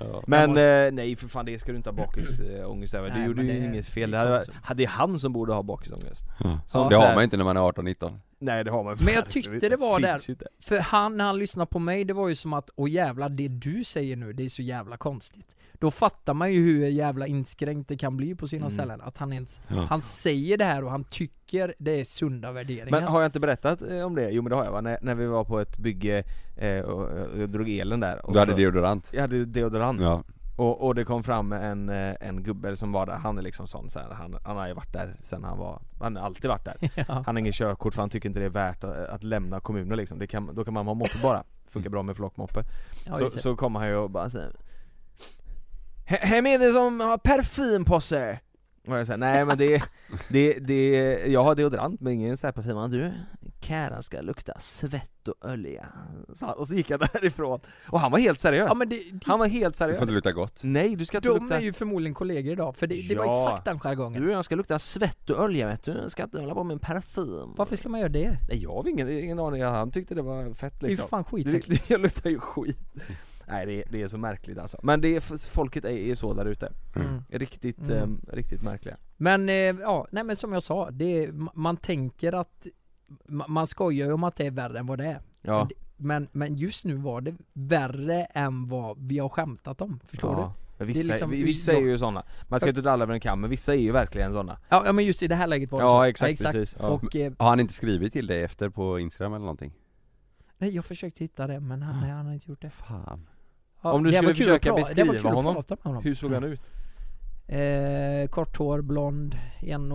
C: Ja.
D: Men
B: Jag måste-
D: eh, nej för fan det ska du inte ha bakisångest över,
B: Nej,
D: du gjorde
B: men
D: ju
B: det-
D: inget fel,
B: det
D: det hade,
B: är
D: varit-
B: också-
D: hade han som borde ha bakisångest Som
C: Det
D: så här-
C: har man inte när man är 18-19.
D: Nej det har man
B: Men jag
D: verkligen
B: tyckte
D: inte.
B: det var
D: Finns ju inte.
B: För han, när han lyssnade på mig, det var ju som att åh jävlar det du säger nu, det är så jävla konstigt Då fattar man ju hur jävla inskränkt det kan bli på sina
D: Mm.
B: ställen, att han ens
C: Ja.
B: Han säger det här och han tycker det är sunda värderingar
D: Men har jag inte berättat eh, om det? Jo men det har jag va? När, när vi var på ett bygge eh, och, och jag drog elen där och
C: Du hade
D: så-
C: deodorant.
D: Jag hade deodorant
C: Ja.
D: Och, och det kom fram en, eh, en gubbe som var där, han är liksom sån så här, han, han har ju varit där sen han var, han har alltid varit där
B: ja.
D: Han har ingen körkort för han tycker inte det är värt att, att lämna kommunen liksom, det kan, då kan man ha moppe bara Funkar bra med flockmoppe
B: Mm. Ja,
D: Så,
B: just det.
D: så kommer han ju och bara säger "He- Hem är det som har parfym på sig! Och jag säger nej men det, det, det, jag har deodorant men ingen så här parfym, "Ja, du Käran ska lukta svett och olja, sa han, och så gick han därifrån. Och han var helt seriös.
B: Ja men det, det,
D: Han var helt
C: Det
D: seriös.
C: får inte luta gott.
D: Nej, du ska inte
B: de
D: lukta...
B: är ju förmodligen kollegor idag, för det, det var
D: Ja.
B: exakt den jargongen.
D: Du, jag ska lukta svett och olja vet du. Jag ska inte hålla på med en parfym.
B: Varför ska man göra det?
D: Nej, jag har ingen, ingen aning. Han tyckte det var fett
B: Det är ju
D: liksom.
B: fan
D: Det,
B: skitäckligt.
D: det luktar ju skit. Nej det, är- det är så märkligt alltså. Men det är, folket är, är så där ute.
B: Mm.
D: Riktigt,
B: Mm.
D: ehm, riktigt märkliga.
B: Men eh, ja, nej men som jag sa, det är, ma- man tänker att ma- man skojar ju om att det är värre än vad det är.
D: Ja.
B: Det- Men, men just nu var det värre än vad vi har skämtat om, förstår du?
D: ja. Men vissa,
B: Det är liksom-
D: vi- vissa är ju sådana. Man ska inte dra alla över en kam, men vissa är ju verkligen sådana.
B: Ja, ja men just i det här läget var det
D: Ja,
B: så.
D: exakt, precis. Ja.
B: Och, eh,
C: Har han inte skrivit till dig efter på Instagram eller någonting?
B: nej jag försökte hitta det men han, nej, han har inte gjort det.
C: Fan.
B: Ja,
D: Mm. Om du
B: det
D: skulle
B: var kul
D: försöka
B: att pra- det var kul
D: beskriva
B: att
D: honom,
B: prata med honom. Mm.
D: Hur såg han ut?
B: Eh, kort hår, blond,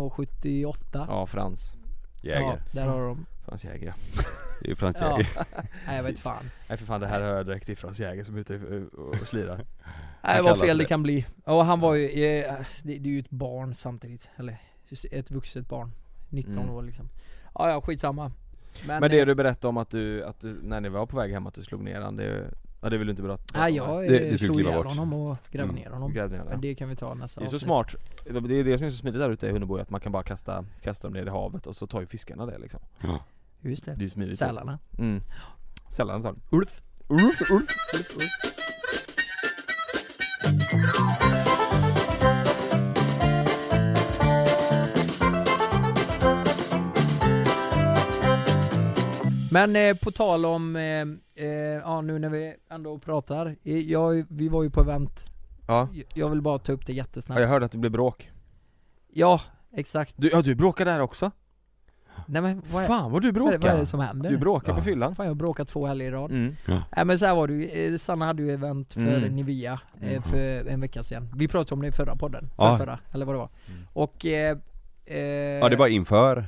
B: 1,78.
D: Ja, Mm. Frans.
C: Jäger.
B: där har de.
D: Frans Jäger ja.
C: Det är ju Frans
B: Ja. eh.
C: Jäger.
B: Nej jag vet fan.
D: Nej för fan det här hör jag direkt till Frans Jäger som är ute och- och slirar.
B: Nej
C: Han
B: vad
C: kallar
B: fel
C: det.
B: det kan bli. Och han var ju, eh, det, det är ju ett barn samtidigt. Eller ett vuxet barn. 19
D: Mm.
B: år liksom. Ja ja skitsamma.
D: Men det
B: eh,
D: du berättade om att du, att du, när ni var på väg hem, att du slog ner han, det, ja, det vill du inte berätta
B: Nej
D: om, va?
B: jag det,
C: Det- det skulle
B: slog
C: kliva
B: ihjäl
C: bort.
B: honom och grävde
C: Mm.
B: ner honom.
D: Grävde ner
B: Men
D: han.
B: det kan vi ta nästa
D: Det är så
B: avsnitt.
D: smart, det är det som är så smidigt där ute i Hunnebo att man kan bara kasta, kasta dem ner i havet och så tar ju fiskarna det liksom
B: Just det.
D: Det är ju smidigt
B: Sälarna.
D: mm. Sällan tar dem
B: Ulf.
D: Ulf, Ulf, Ulf, Ulf.
B: Men eh, på tal om, eh, eh, ja nu när vi ändå pratar. Eh, jag, vi var ju på event.
D: Ja.
B: Jag- Jag vill bara ta upp det
D: ja,
B: jättesnabbt.
D: jag hörde att det blev bråk
B: Ja, exakt.
D: du, Ja du bråkar där också?
B: Nej men vad är,
D: Fan vad du
B: vad är, vad är
D: bråkar!
B: det som händer?
D: Du bråkar
C: Ja.
D: på fyllan
B: Fan jag har bråkat två helger i rad.
D: mm.
B: Nej men så här var det ju, Eh, Sanna hade ju event för
D: Mm.
B: Nivea eh,
D: Mm.
B: för en vecka sedan. Vi pratade om det i förra podden, för
C: Ja.
B: förra, eller vad det var.
D: Mm.
B: Och... Eh, eh,
C: Ja det var inför.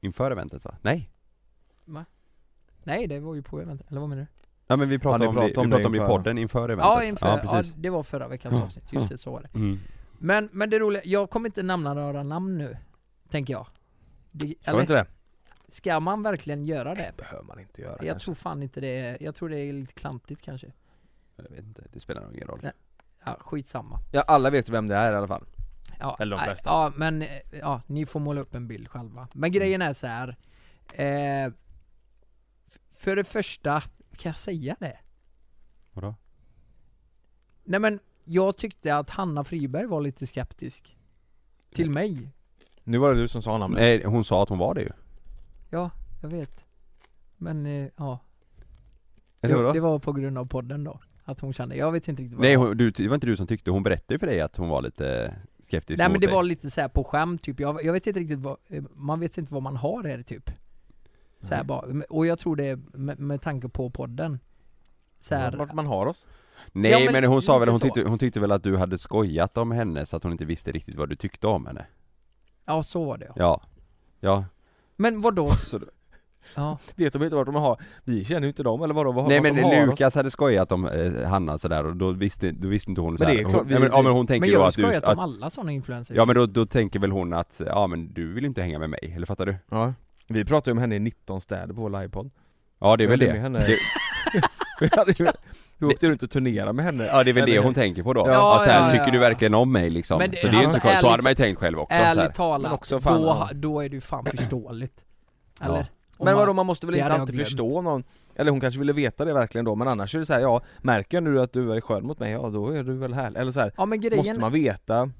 C: Inför eventet va? Nej?
B: Nej det var ju på event, eller vad menar du?
C: Ja men vi pratade
D: Ja, ni
C: om, det, vi
D: pratade om
C: pratade
D: det
C: om det i
D: inför.
C: podden inför eventet.
B: Ja, inför,
C: Ja
B: ja,
C: precis.
B: det var förra veckans
C: Ja,
B: avsnitt, just
C: ja.
B: det, så var det.
C: Mm.
B: Men, men det roliga, jag kommer inte nämna några namn nu, tänker jag. Det,
D: Ska
B: eller,
D: vi inte det?
B: ska man verkligen göra det?
D: behöver man inte göra
B: Jag tror fan inte det är, jag tror det är lite klantigt kanske.
C: Jag vet inte, det spelar nog ingen roll.
B: Nej. Ja, skitsamma.
D: ja, alla vet ju vem det är i alla fall
B: Ja,
D: Eller de
B: nej,
D: flesta. Mm.
B: Ja, men eh, ja, ni får måla upp en bild själva. Men grejen är så här. Eh, f- för det första, kan jag säga det?
C: Vadå?
B: Nej men, jag tyckte att Hanna Friberg var lite skeptisk. Till mig.
D: Nu var det du som sa namnet
C: Nej hon sa att hon var det ju.
B: Ja, jag vet. Men eh, ja,
C: Eller
B: det,
C: vadå?
B: det var på grund av podden då. Att hon kände, jag vet inte riktigt vad
C: Nej
B: jag-
C: hon, du, det var inte du som tyckte, hon berättade ju för dig att hon var lite skeptisk
B: Nej men
C: mot
B: det
C: dig.
B: var lite så här på skämt typ, jag, jag vet inte riktigt vad, eh, man vet inte vad man har här typ så här bara, och jag tror det är med, med tanke på podden så här,
D: Vart man har oss
C: Nej
B: Ja, men
C: men, hon sa väl,
B: lite
C: hon
B: så.
C: tyckte, hon tyckte väl att du hade skojat om henne så att hon inte visste riktigt vad du tyckte om henne.
B: ja så var det ja.
C: Ja. Ja.
B: Men vadå?
C: Så,
B: Ja,
D: Vet de inte vart de har? Vi känner ju inte dem eller vadå? Vad,
C: Nej
D: vart
C: men
D: de har oss?
C: Lukas hade skojat om eh, Hanna sådär och då visste, då visste inte hon
D: det är
C: såhär.
D: klart,
C: hon,
D: vi-
C: nej, men, ja, men hon
B: men
C: tänker
B: jag
C: då
B: har
C: att du,
B: skojat om
C: att,
B: alla sådana influencers
C: Ja men då, då tänker väl hon att, ja men du vill ju inte hänga med mig, eller fattar du?
D: Ja. Vi pratade ju om henne i 19 städer på vår livepodd
C: Ja det är väl
D: Jag
C: det.
D: höll med henne.
C: det
D: Vi hade ju- Vi åkte runt och turnerade med henne
C: ja det är väl det
D: Eller-
C: hon tänker på då.
D: Ja,
C: Ja, så här,
B: ja, ja,
C: tycker du
B: ja.
C: verkligen om mig liksom?
B: Men det-
C: så det är ju
B: alltså,
C: inte så konstigt. så
B: ärligt-
C: hade man ju tänkt själv också. så här.
B: Ärligt talat,
D: Men också fan,
B: då,
D: ja.
B: ha- då är du fan förståelig
C: Ja.
B: Eller? Om
D: Men vadå
B: man-
D: man måste väl
B: det
D: inte
B: hade jag
D: alltid
B: glömt.
D: förstå någon Eller hon kanske ville veta det verkligen då men annars är det så här, ja Märker jag nu att du är skön mot mig, ja då är du väl härlig Eller så här,
B: Ja men
D: måste
B: grejen,
D: man veta?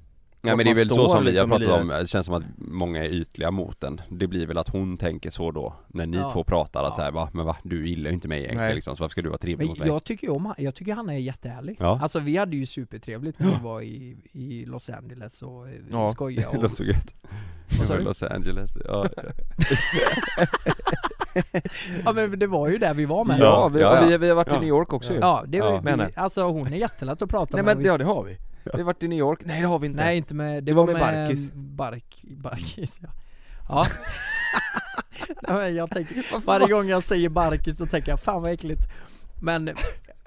C: Nej
D: att
C: men det är
D: man
C: väl så
D: står
C: som vi har
D: liksom i
C: pratat om,
D: livet.
C: det känns som att många är ytliga mot den Det blir väl att hon tänker så då, när ni
B: Ja.
C: två pratar att
B: Ja.
C: så här, va, men va, du gillar ju inte mig egentligen
D: Nej.
C: liksom, så varför ska du vara trevlig
B: Men
C: mot mig?
B: jag tycker ju om han, jag tycker han är jättehärlig.
C: Ja.
B: Alltså vi hade ju supertrevligt när vi var i, i Los Angeles och eh,
D: Ja.
B: skojade
C: Det
B: och...
C: låter så gött.
B: Vad sa
C: Det var
B: du?
C: Los Angeles, ja.
B: Ja men det var ju där vi var med.
D: Ja, vi,
C: Ja, ja.
D: Vi, vi har varit
C: Ja.
D: i New York också ju.
B: Ja, det var,
D: Ja. Menar.
B: Vi, alltså hon är jättelätt att prata
D: Nej
B: med.
D: men
B: Vi-
D: ja, det har vi. Vi har varit i New York. Nej det har vi inte.
B: Nej inte med, det,
D: Det
B: var,
D: var
B: med
D: med Barkis.
B: Bark, Barkis ja. Ja. Nej, men jag tänker, varje gång jag säger Barkis så tänker jag fan vad äckligt. Men,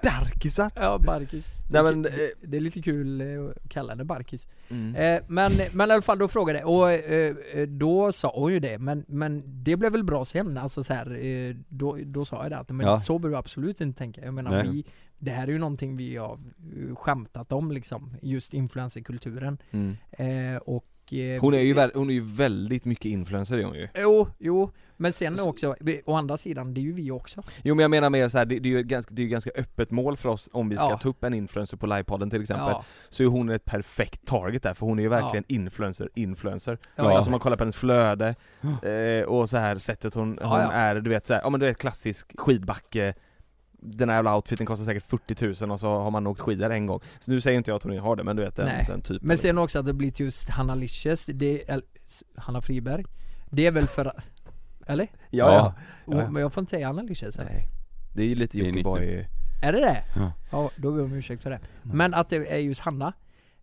D: Darkisar.
B: ja Barkis.
D: Nej, men,
B: det,
D: eh,
B: det är lite kul eh, att kalla henne Barkis.
D: Mm.
B: Eh, men, men i alla fall då frågade jag och eh, eh, då sa hon ju det men, men det blev väl bra sen alltså så här, eh, då, då sa jag det att men
C: Ja.
B: så behöver du absolut inte tänka. Jag menar
C: Nej.
B: vi, det här är ju någonting vi har eh, skämtat om liksom, just influencerkulturen.
D: Mm.
B: Eh, och, eh,
D: Hon är ju, vä- hon är ju väldigt mycket influencer är hon ju.
B: Jo, jo, men sen är också, vi, å andra sidan, det är ju vi också.
D: Jo men jag menar mer såhär, det, det är ju ett ganska, det är ju ganska öppet mål för oss om vi ska
B: Ja.
D: ta upp en influencer på livepodden till exempel.
B: Ja,
D: Så är hon ett perfekt target där, för hon är ju verkligen influencer, influencer.
B: ja,
D: Alltså man kollar på hennes flöde, eh, och så här sättet hon,
B: Ja,
D: hon
B: ja.
D: är, du vet såhär, ja men du vet klassisk skidbacke den här jävla outfiten kostar säkert 40 000 och så har man åkt skidor en gång. Så nu säger inte jag att hon har det men du vet den,
B: Nej.
D: den typen.
B: Men sen också att det blivit just Hanna Licious, det, eller, s- Hanna Friberg, det är väl för, eller?
D: ja, ja.
B: Oh, Men jag får inte säga Hanna Licious eller?
D: Nej. Det är ju lite
C: Det är
D: Jockiboi...
B: Är det det?
C: Ja.
B: Ja, då ber jag om ursäkt för det.
D: Mm.
B: Men att det är just Hanna,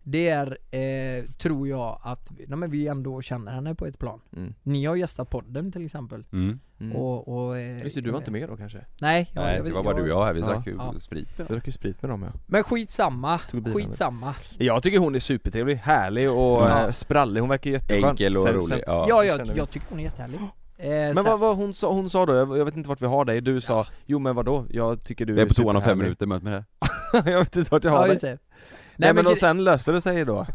B: det är, eh, tror jag att, nej men vi ändå känner henne på ett plan.
D: Mm.
B: Ni har gästat podden till exempel.
C: Mm.
D: Mm.
B: Och, och, eh,
D: Just det, du var inte med då kanske?
B: Nej, jag-
C: Nej
B: jag-
C: det var bara du och jag här, vi
D: Ja.
C: drack ju
B: Ja.
C: sprit
D: Jag drack ju sprit med dem ja.
B: Men skitsamma,
D: Tog bilen.
B: skitsamma.
D: Jag tycker hon är supertrevlig, härlig och
B: Ja.
D: eh, sprallig, hon verkar jätteskön
C: Enkel och
D: Sen-
C: rolig,
D: sen-
C: ja.
B: Ja,
D: det
B: jag,
D: känner vi.
B: jag tycker hon är jättehärlig. Eh,
D: Men vad, vad hon, sa, hon sa då, jag, jag vet inte vart vi har dig, du sa Jo men vadå, jag tycker du
C: Vi är på toan om fem
D: superhärlig."
C: minuter, möt mig här
D: Jag vet inte vart jag har
B: ja,
D: dig
B: just det.
D: Nej men,
B: gre-
D: och sen löste det sig då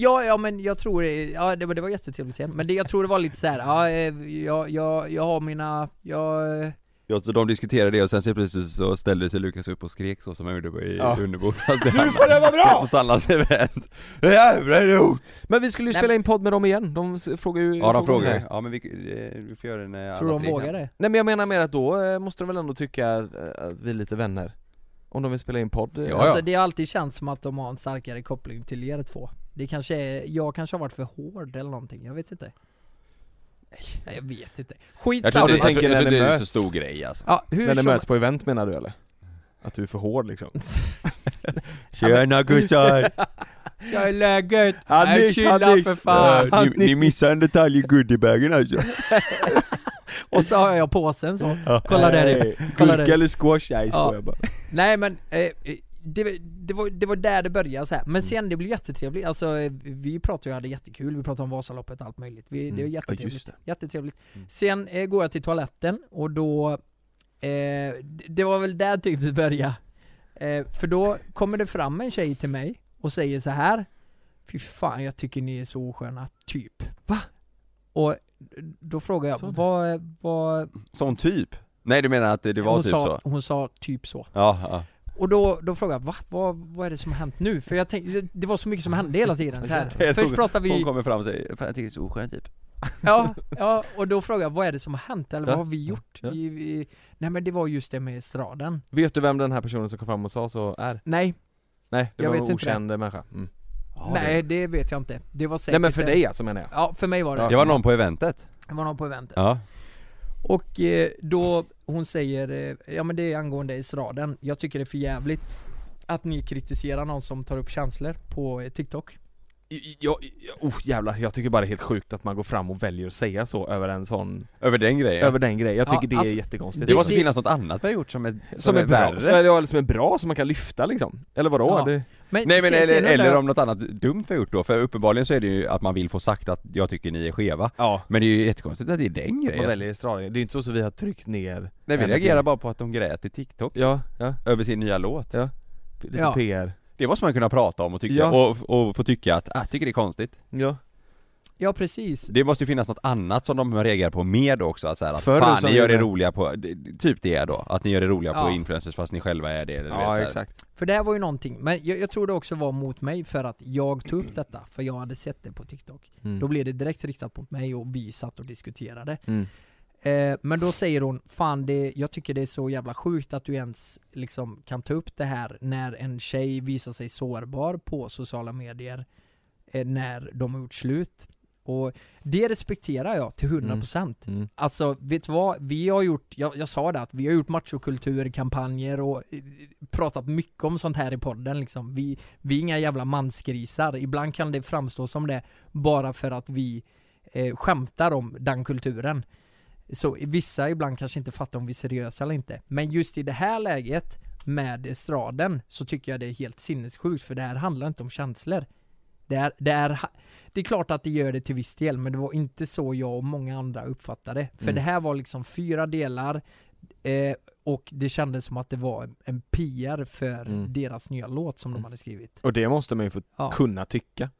B: ja, ja men jag tror, det- ja det, var- det var jättetrevligt sen. Men det, jag tror det var lite så här. ja, eh, jag, jag, jag har mina, jag, eh,
C: Ja, så de diskuterade det och sen så plötsligt så ställde sig Lukas upp och skrek så som han gjorde på- i
D: Ja.
C: Underbo fast det
D: Nu får det vara bra!
C: Hos Sannas event! Jävla idiot!
D: Men vi skulle ju
B: Nej,
D: spela in podd med dem igen, de s- frågar ju
C: Ja de
D: om
C: frågade,
D: det.
C: ja men vi, eh, vi får göra det när
B: tror
C: alla
B: de
C: tre
B: vågar
C: kan.
B: det?
D: Nej men jag menar mer att då eh, måste de väl ändå tycka eh, att vi är lite vänner Om de vill spela in podd eh.
C: Ja,
B: Alltså det har alltid känts som att de har en starkare koppling till er två. Det kanske är, jag kanske har varit för hård eller någonting, jag vet inte. Nej, jag vet inte.
C: Jag tror
B: Skitsamma.
C: inte
D: Samma.
C: jag tror-
D: Tänker
C: jag tror inte
D: när ni
C: det är så
D: möts.
C: stor grej alltså
B: ja, hur
D: När ni
B: som,
D: möts på event menar du eller? Att du är för hård liksom?
C: Tjena gussar!
B: jag är läget, jag chillar för fan.
C: Ja, Eh, ni, ni missade en detalj i goodiebagen alltså
B: Och så har jag påsen så, kolla där i. kolla där i.
D: eller squash? Nej
B: Ja.
D: bara
B: Nej men, eh, det, det, var, det var där det började så här.
D: Mm.
B: men sen det blev jättetrevligt, alltså eh, vi pratade ju, hade jättekul, vi pratade om Vasaloppet och allt möjligt. Vi, Det var
D: Mm. Ja,
B: jättetrevligt.
D: just det. Mm.
B: jättetrevligt. Sen eh, går jag till toaletten och då, eh, det- det var väl där typ det började. Eh, för då kommer det fram en tjej till mig och säger så här Fy fan jag tycker ni är så osköna, typ. Va? Och eh, då frågar jag,
D: Sa hon det?
B: vad, vad,
C: Sån typ? Nej du menar att det, det var
B: hon,
C: typ
B: sa,
C: så?
B: hon sa typ så.
C: Ja, ja.
B: Och då, då frågade jag va? Vad, vad är det som har hänt nu? För jag tänkte, det var så mycket som hände hela tiden så här.
C: Jag
B: Först
C: tror-
B: pratade
C: Hon
B: vi,
C: kommer fram och säger 'Fan jag tycker det är så oskön typ'
B: ja, ja, och då frågade jag vad är det som har hänt? Eller
C: Ja.
B: vad har vi gjort?
C: Ja.
B: Vi, vi, nej men det var just det med straden.
D: Vet du vem den här personen som kom fram och sa så är?
B: Nej,
D: Nej, det
B: Jag
D: var
B: vet
D: en
B: inte
D: okänd människa mm.
B: nej det vet jag inte. Det var säkert
D: Nej men för
B: en-
D: dig alltså menar jag
B: Ja, för mig var det.
D: Ja.
C: Det var någon på eventet?
B: Det var någon på eventet.
C: Ja
B: Och eh, då hon säger, eh, ja men det är angående estraden, jag tycker det är för jävligt att ni kritiserar någon som tar upp känslor på eh, TikTok.
D: jag, oh, jävlar, jag tycker bara det är helt sjukt att man går fram och väljer att säga så över en sån,
C: Över den grejen?
D: över den grejen. Jag
B: Ja,
D: tycker det
B: alltså,
D: är jättekonstigt.
C: Det måste
B: det-
C: finnas något annat vi har gjort som är, som är
D: bra,
C: värre
D: eller ja, som är bra som man kan lyfta liksom. Eller vadå?
B: Ja.
D: Det,
B: Men
C: Nej men
B: sen- sen
C: eller,
B: undrar
C: eller
B: jag-
C: om något annat dumt vi har gjort då, för uppenbarligen så är det ju att man vill få sagt att jag tycker ni är skeva
D: ja.
C: Men det är ju jättekonstigt att det är den
D: Man
C: grejen
D: väljer strålning. Det är inte så att vi har tryckt ner
C: Nej vi
D: en-
C: reagerar bara på att de grät i TikTok
D: Ja, ja.
C: över sin nya låt
D: Ja. Lite
B: Ja.
D: PR.
C: Det måste man kunna prata om och tycka,
D: Ja.
C: och, och få tycka att, ah, tycker det är konstigt
D: Ja.
B: Ja precis.
C: Det måste ju finnas något annat som de reagerar på mer då också, att, så här, att
D: Förr
C: fan
D: så
C: ni gör er
D: gjorde-
C: roliga på, det- typ det då, att ni gör er roliga
B: Ja.
C: på influencers fast ni själva är det eller du vet, så
D: Ja
C: här.
D: exakt.
B: För det här var ju någonting, men jag, jag tror det också var mot mig för att jag tog upp detta, för jag hade sett det på TikTok.
D: Mm.
B: Då blev det direkt riktat mot mig och vi satt och diskuterade.
D: Mm.
B: Eh, men då säger hon, fan det, jag tycker det är så jävla sjukt att du ens liksom kan ta upp det här när en tjej visar sig sårbar på sociala medier eh, när de har gjort slut. Och det respekterar jag till 100%.
D: Mm.
B: Alltså, vet du vad? Vi har gjort, jag, jag sa det att vi har gjort machokulturkampanjer och eh, pratat mycket om sånt här i podden liksom. Vi, vi är inga jävla mansgrisar. Ibland kan det framstå som det bara för att vi eh, skämtar om den kulturen. Så vissa ibland kanske inte fattar om vi är seriösa eller inte. Men just i det här läget med estraden så tycker jag det är helt sinnessjukt för det här handlar inte om känslor. Det är, det är, ha- det är klart att det gör det till viss del men det var inte så jag och många andra uppfattade det. För
D: Mm.
B: det här var liksom fyra delar eh, och det kändes som att det var en PR för
D: Mm.
B: deras nya låt som de hade skrivit.
D: Och det måste man ju få
B: Ja,
D: kunna tycka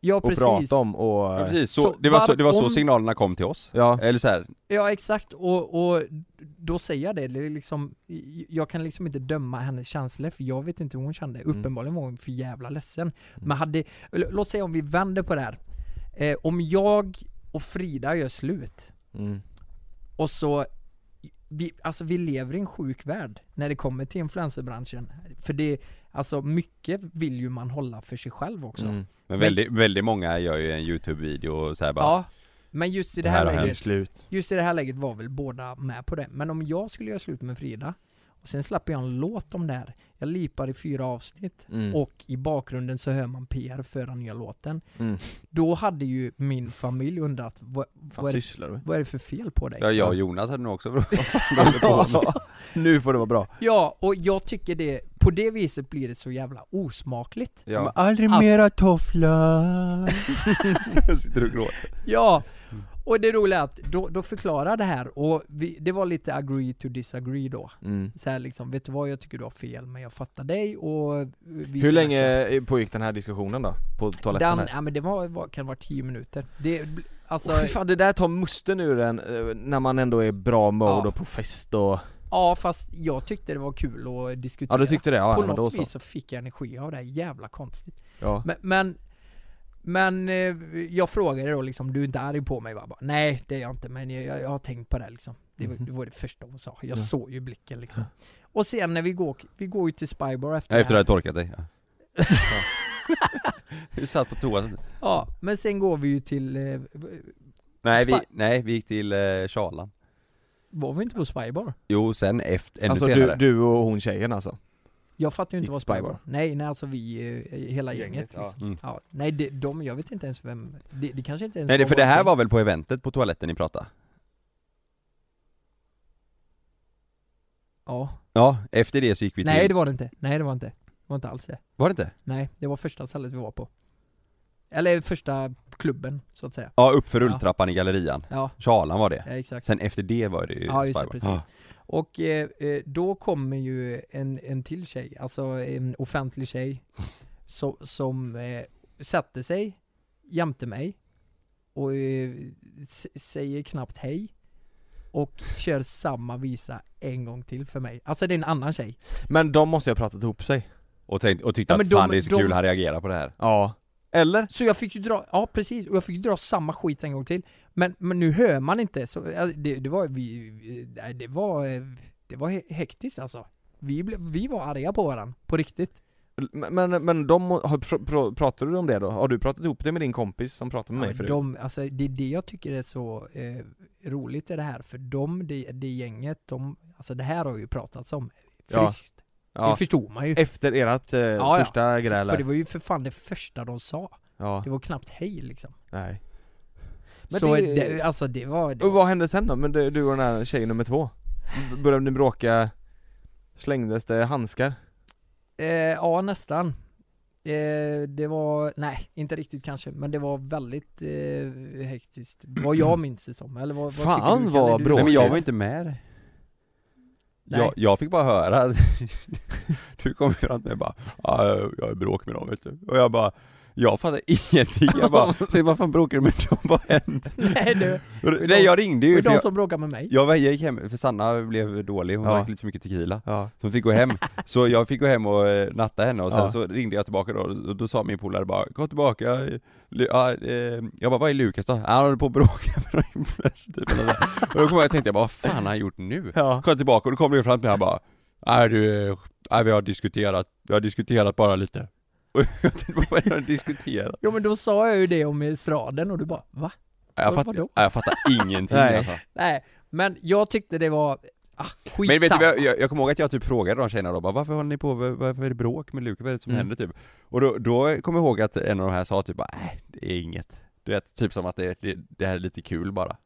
B: ja
D: och
B: precis.
D: prata om och...
C: Ja, precis, så,
B: Så
C: det var, så, det var
B: var-
C: så
B: om-
C: signalerna kom till oss.
D: Ja.
C: Eller så här,
B: Ja exakt, och, och då säger jag det, det är liksom, jag kan liksom inte döma hennes känslor för jag vet inte hur hon kände,
D: Mm.
B: uppenbarligen var hon för jävla ledsen Men hade, l- låt säga om vi vänder på det här eh, Om jag och Frida gör slut,
D: Mm.
B: och så vi, alltså vi lever i en sjuk värld när det kommer till influencerbranschen För det, alltså mycket vill ju man hålla för sig själv också
D: Mm.
C: men väldigt, väldigt många gör ju en youtube-video och så här bara,
B: Ja, men just i det,
C: Det här
B: här,
C: har hänt.
B: läget
D: Slut.
B: Just i det här läget var väl båda med på det. Men om jag skulle göra slut med Frida och sen slapp jag en låt om det här. Jag lipar i fyra avsnitt
D: Mm.
B: och i bakgrunden så hör man PR för den nya låten.
D: Mm.
B: Då hade ju min familj undrat vad,
D: Vad
B: vad, är, det,
D: sysslar du med?
B: vad är det för fel på dig?
C: ja, jag och Jonas hade nog också
D: alltså, nu får det vara bra.
B: Ja, och jag tycker det, på det viset blir det så jävla osmakligt.
D: Ja.
C: Aldrig
B: Att- mera
C: tofflar Sitter och gråter
B: Ja,
D: Mm.
B: och det roliga är att då, då förklarar det här och vi, det var lite agree to disagree då.
D: Mm.
B: Så här liksom, vet du vad, jag tycker du har fel men jag fattar dig och vi
D: Hur länge pågick den här diskussionen då? På
B: Den,
D: toaletten här?
B: ja men det var, var, kan vara 10 minuter. Det, bl- alltså,
D: Åh, fy fan, det där tar musten ur en eh, när man ändå är i bra mode
B: Ja.
D: och på fest och...
B: ja fast jag tyckte det var kul att diskutera.
D: Ja du tyckte det? Ja,
B: På
D: ja, men då
B: något
D: så.
B: vis så fick jag energi av det här, jävla konstigt.
D: Ja.
B: Men, men, men eh, jag frågade då liksom, du är inte arg på mig va? Bara, Nej det är jag inte men jag, jag, jag har tänkt på det här, liksom. Det var, det var det första hon sa, jag
D: Mhm. Ja.
B: såg ju blicken liksom. Och sen när vi går, vi går ju till Spybar efter,
C: Efter du
B: det
C: hade
B: här.
C: torkat dig ja. Du satt på toan
B: Ja, men sen går vi ju till, eh,
C: Nej vi,
B: Spa-
C: nej, vi gick till eh, Charlan
B: var vi inte på Spybar?
C: Jo, sen efter, ännu
D: Alltså du,
C: senare
D: du och hon tjejen alltså?
B: Jag fattar ju
D: Gick
B: inte vad
D: till Spy
B: Spy
D: Bar?
B: var. Nej, nej alltså vi, eh, hela gänget,
D: Gänget, ja.
B: liksom.
C: Mm.
B: ja. Nej, det, de, jag vet inte ens vem, det, det kanske inte ens
C: Nej det, för det här
B: vårt
C: var väl på eventet på toaletten ni pratade?
B: gäng. Ja.
C: Ja, efter det så gick vi till...
B: Nej det var det inte, nej det var inte. Det var inte alls det.
C: Var det inte?
B: Nej, det var första stället vi var på. Eller första klubben, så att säga.
C: Ja, uppför
B: Ja.
C: rulltrappan i gallerian
B: Ja,
C: Charlan var det
B: ja exakt.
C: Sen efter det var det ju
B: Ja just det,
C: Spybar.
B: precis.
C: Ja.
B: Och eh, eh, då kommer ju en, en till tjej, alltså en offentlig tjej, so, som eh, satte sig jämte mig och eh, s- säger knappt hej och kör samma visa en gång till för mig. Alltså det är en annan tjej.
D: Men de måste ju ha pratat ihop sig?
C: Och, tänkte, och tyckte
B: Ja, men
C: att
B: de-
C: fan det är så
B: de-
C: kul han reagerar på det här
D: Ja. Eller?
B: Så jag fick ju dra, ja precis, och jag fick ju dra samma skit en gång till. Men, men nu hör man inte, så eh, det, det var, vi, vi- nej, det var, eh, det var he- hektiskt alltså. Vi, blev- vi var arga på varandra, på riktigt.
D: Men, men, men de, må- har, pr- pr- pratar du om det då? Har du pratat ihop det med din kompis som pratade med
B: Ja,
D: mig
B: men
D: förut?
B: de, alltså, det är det jag tycker är så eh, roligt i det här, för de, det, det gänget, de, alltså det här har ju pratats om
D: Ja.
B: friskt. Det
D: ja.
B: förstod man ju.
D: Efter ert eh,
B: ja.
D: första gräl
B: För det
D: där?
B: var ju för fan det första de sa.
D: Ja,
B: Det var knappt hej liksom.
D: nej.
B: så det, alltså det var... Det
D: Och
B: var
D: vad hände sen då? Men du, du och den här tjejen nummer två? B- Började ni bråka? Slängdes det handskar?
B: eh, ja, nästan. Eh, det var, nej, inte riktigt kanske, men det var väldigt eh, hektiskt. Vad jag minns det som. Eller vad, vad
D: Mm. Fan,
B: tycker du, Kalle?
D: vad
B: Du-
D: bråkigt.
C: Nej men jag var inte med där.
B: Nej.
C: jag, jag fick bara höra att Du kom fram till mig och bara "Ja, jag är i bråk med dem vet du Och jag bara Jag fattar ingenting, jag bara, "Fy, vad fan bråkar du med dem? Vad har hänt?
B: Nej du,
C: Nej jag ringde
B: det är
C: ju för
B: de
C: jag,
B: som bråkar med mig.
C: jag gick hem, för Sanna blev dålig, hon
D: Ja.
C: drack lite för mycket tequila
D: Ja.
C: Så hon fick gå hem, så jag fick gå hem och eh, natta henne och sen
D: Ja.
C: så ringde jag tillbaka då, och då sa min polare bara 'Kom tillbaka' eh, Lu- ja, eh, Jag bara 'Vad är Lukas då?' Han håller på att bråka med någon influencer typ eller nåt. Och då kom jag och tänkte jag bara 'Vad fan har han gjort nu?'
D: Ja.
C: Kom jag tillbaka och då kom du fram till mig och bara 'Nej du, eh, nej, vi har diskuterat, vi har diskuterat bara lite' Och jag tänkte bara 'Vad är det ni har diskuterat?'
B: Jo men då sa jag ju det om estraden och du bara va?
C: Nej, Jag
B: Vad-
C: fattar,
B: vadå?
C: nej, jag fattar ingenting
D: Nej.
C: alltså.
B: Nej, men jag tyckte det var, ah, skitsamma.
C: Men vet du, vad jag, jag, jag kommer ihåg att jag typ frågade de tjejerna då, bara, varför håller ni på, Var- varför är det bråk med Lukas, vad är det som
D: Mm.
C: händer typ? Och då, då kommer jag ihåg att en av de här sa typ bara, nej det är inget. Du vet, typ som att det, det, det här är lite kul bara.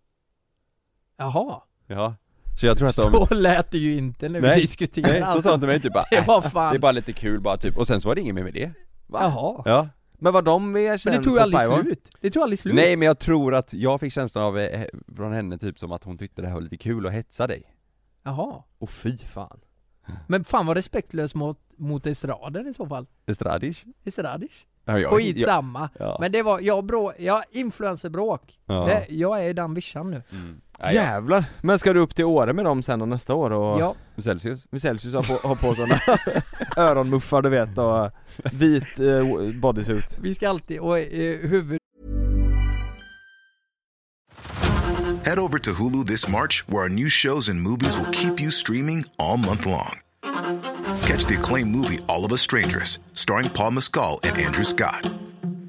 B: Jaha,
C: Ja. Så jag tror att de...
B: så lät det ju inte när vi
C: Nej,
B: diskuterade
C: nej, så sa de till mig typ bara,
B: Det
C: "Äh,
B: var fan,
C: det är bara lite kul bara typ, och sen så var det inget mer med det.
B: jaha.
C: Ja.
D: Men var de med sen
B: Men det tog
D: på
B: ju aldrig
D: Spybar?
B: slut. Det tog aldrig slut.
C: Nej men jag tror att, jag fick känslan av, eh, från henne typ som att hon tyckte det här var lite kul och hetsa dig.
B: Jaha.
D: Åh fy fan.
B: Men fan vad respektlös mot, mot estraden i så fall.
C: Estradish?
B: Estradish?
C: Ja, jag- jag-
B: Skitsamma.
C: Ja.
B: Men det var, jag brå, jag influencerbråk.
C: Ja.
B: Det, jag är i den vischan nu.
C: Mm. Nej, ja.
D: Jävlar! Men ska du upp till Åre med dem sen och nästa år och
B: Ja,
C: Celsius?
D: med Celsius har på, har på sådana öronmuffar du vet och vit eh, bodysuit?
B: vi ska alltid, och eh, huvud...
F: Head over to Hulu this March, where our new shows and movies will keep you streaming all month long. Catch the acclaimed movie All of Us Strangers, starring Paul Mescal and Andrew Scott.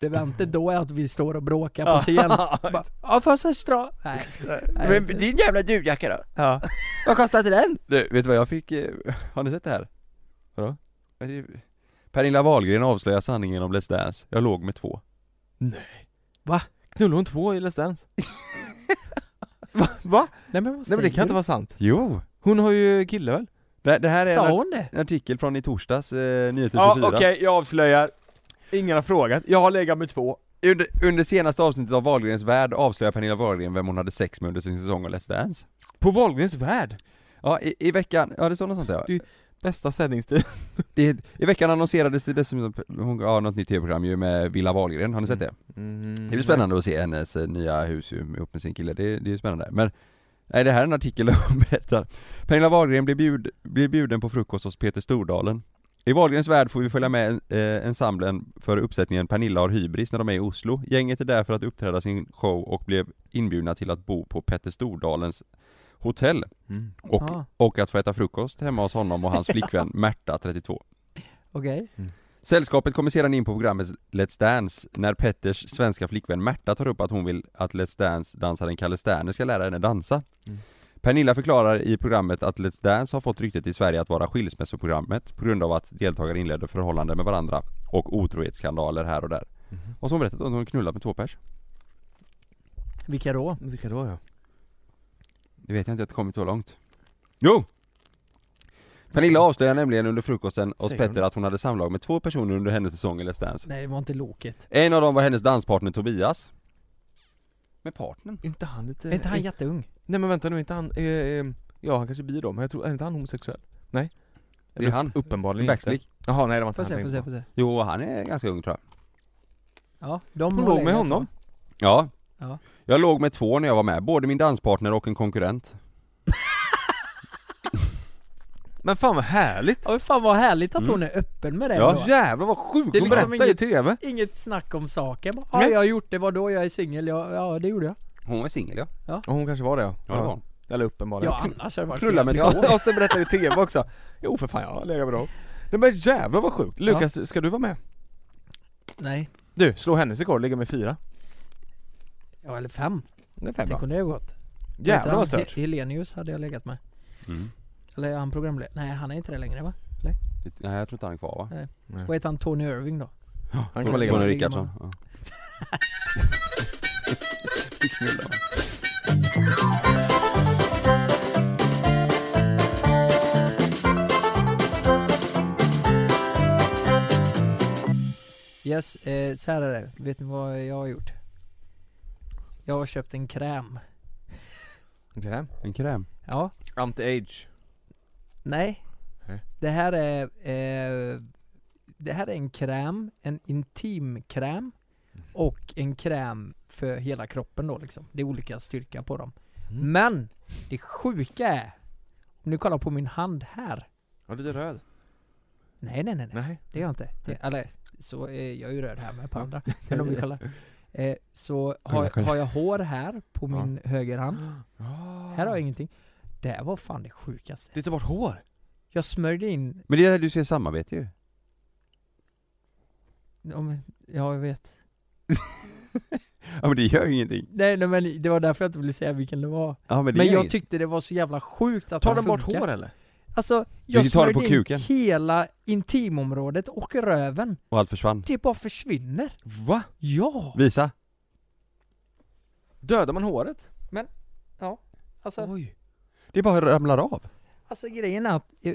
B: Det väntar då är att vi står och bråkar på scen. Bara, Ja fast estra... Nej. Nej.
C: din jävla duvjacka då?
D: Ja.
B: Vad kostar den?
C: Du, vet du vad jag fick? eh, Har ni sett det här? Vadå? Är det- Pernilla Wahlgren avslöjar sanningen om Let's Dance. Jag låg med två.
D: Knullade hon två i Let's Dance? Va? Va?
B: Nej men vad
D: Nej men det
B: säger
D: kan inte
B: du?
D: vara sant.
C: Jo!
D: Hon har ju kille väl?
C: Det, det här är
B: Sa
C: en
B: hon det?
C: en artikel från i torsdags, eh, Nyheter 24.
D: Ja okej, jag avslöjar. Ingen har frågat. Jag har legat med två.
C: Under, under senaste avsnittet av Wahlgrens värld avslöjar Pernilla Wahlgren vem hon hade sex med under sin säsong av Let's Dance.
D: På Wahlgrens värld?
C: Ja, i, i veckan, ja det står något sånt där.
D: Du- Bästa sändningstid.
C: Det, I veckan annonserades det dessutom, hon har något nytt tv-program ju med Villa Wahlgren, har ni sett det?
D: Mm-hmm. Mm.
C: Det blir spännande att se hennes eh, nya hus ju ihop med sin kille, det, det är spännande. Men, nej det här är en artikel där hon berättar. Pernilla Wahlgren blir, bjud, blir bjuden på frukost hos Peter Stordalen. I Wahlgrens värld får vi följa med eh, ensemblen för uppsättningen Pernilla har hybris när de är i Oslo. Gänget är där för att uppträda sin show och blev inbjudna till att bo på Petter Stordalens hotell
D: Mm.
C: och,
B: Ah.
C: och att få äta frukost hemma hos honom och hans flickvän Märta, 32.
B: Okej.
C: Sällskapet kommer sedan in på programmet Let's Dance när Petters svenska flickvän Märta tar upp att hon vill att Let's Dance-dansaren Kalle Sterner ska lära henne dansa.
D: Mm.
C: Pernilla förklarar i programmet att Let's Dance har fått ryktet i Sverige att vara skilsmässoprogrammet på grund av att deltagare inledde förhållanden med varandra och otrohetsskandaler här och där.
D: Mhm.
C: Och så har hon berättat att hon knullat med två pers.
B: Vilka då?
D: Vilka då ja?
C: Det vet jag inte, att det kommit så långt. Jo! Pernilla avslöjar nämligen under frukosten hos
D: Säger hon
C: Petter att hon hade samlag med två personer under hennes säsong i Let's Dance.
B: Nej det var inte Loket.
C: En av dem var hennes danspartner Tobias Med partnern?
D: Inte han lite...
B: Är inte han jätteung?
D: Nej men vänta nu, inte han... Eh, eh, ja han kanske blir då, men jag tror... Är inte han homosexuell? Nej?
C: Det är han,
D: Uppenbarligen
C: Backslick
D: inte. Jaha nej det var inte
B: Får se,
D: han
B: får
D: tänkte
B: se,
D: på.
B: får se.
C: Jo han är ganska ung tror jag
B: Ja, de
D: Hon
B: har
D: låg med
B: legat,
D: honom?
B: va?
C: Ja,
B: Ja.
C: Jag låg med två när jag var med, både min danspartner och en konkurrent
D: Men fan vad härligt!
B: Ja, men fan vad härligt att hon är öppen med det
C: Ja.
B: ändå.
D: Jävlar vad sjukt!
B: Det är
D: Hon
B: liksom
D: berättar i
B: inget-
D: TV!
B: Inget snack om saken. Bara, Ja,
D: Nej.
B: jag har gjort det, vadå? Jag är singel, ja, ja det gjorde jag.
C: Hon var singel ja,
D: Och hon kanske var det ja.
C: ja det var hon
D: Eller uppenbarligen.
B: Ja, annars har det varit
C: Knulla med
B: jävligt-
D: Ja, och så berättar i TV också. Jo för fan jag har legat med dem. Nej men jävlar vad sjukt! Lukas, ska du vara med?
B: Nej,
D: Du, slå hennes rekord, ligga med fyra.
B: ja eller fem.
D: Det är fem
B: Tänk
D: bra.
B: om det hade gått.
D: Jävlar vad
B: Vet du, han-
D: stört.
B: He- Helenius hade jag legat med.
C: Mm.
B: Eller är han programledare? Nej, han är inte det längre va?
C: Nej jag tror inte han är kvar va?
B: Vad heter han? Tony Irving då?
D: Han
C: Tony-
D: kommer ligga
C: Tony
D: med.
B: med.
C: Rickardsson ja.
B: Yes, eh, så här är det. Vet ni vad jag har gjort? Jag har köpt en kräm.
D: Kräm?
C: En kräm?
B: Ja,
D: Anti-age.
B: nej.
D: Nej.
B: Det här är... Eh, det här är en kräm, en intimkräm
D: Mhm.
B: och en kräm för hela kroppen då liksom. Det är olika styrka på dem.
D: Mm.
B: Men! Det sjuka är... Om ni kollar på min hand här.
D: Ja, du är röd.
B: Nej, nej, nej. nej.
D: Nej.
B: Det är jag inte. Det, eller, så är jag är ju röd här med på andra. Men om vi kollar. Eh, så har, har jag hår här på
D: Ja.
B: min högerhand.
D: Ah.
B: Här har jag ingenting. Det här var fan det sjukaste.
D: Du tar bort hår?
B: Jag smörjde in,
C: Men det är där du ser samarbete ju
B: ja, men- ja jag vet.
C: Ja men det gör ju ingenting
B: Nej, nej men det var därför jag inte ville säga vilken det var.
C: Ja men det
B: Men
C: gör
B: jag
C: ingenting.
B: tyckte det var så jävla sjukt att
D: Tar
B: den
D: de bort
B: funkar.
D: hår eller?
B: Alltså,
C: Vill
B: jag
C: du ta det på
B: smörjde in
C: kuken?
B: hela intimområdet och röven.
C: Och allt försvann
B: Det bara försvinner.
D: Va?
B: Ja!
C: Visa!
D: Dödar man håret?
B: Alltså,
D: Oj.
C: Det bara ramlar av
B: Alltså grejen är att eh,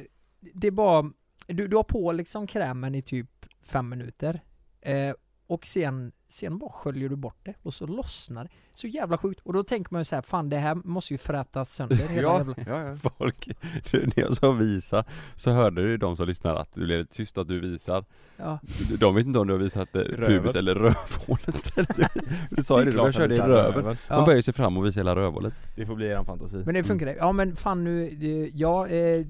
B: det är bara, du, du har på liksom krämen i typ fem minuter eh, och sen, sen bara sköljer du bort det och så lossnar det. Så jävla sjukt. Och då tänker man ju så här, fan det här måste ju frätas sönder hela
D: Ja,
B: jävla...
D: ja, ja.
C: Folk, när jag sa visa så hörde du de som lyssnar att du blev tyst att du visar
B: Ja.
C: De vet inte om du har visat eh,
D: Röven.
C: pubis eller rövhålet istället Du sa ju det,
D: Klart
C: du körde
D: att
C: i
D: det är
C: röven Man
B: Ja.
C: böjer sig fram och visar hela rövhålet
D: Det får bli eran fantasi.
B: Men det funkar det. Ja men fan nu, det- jag, eh,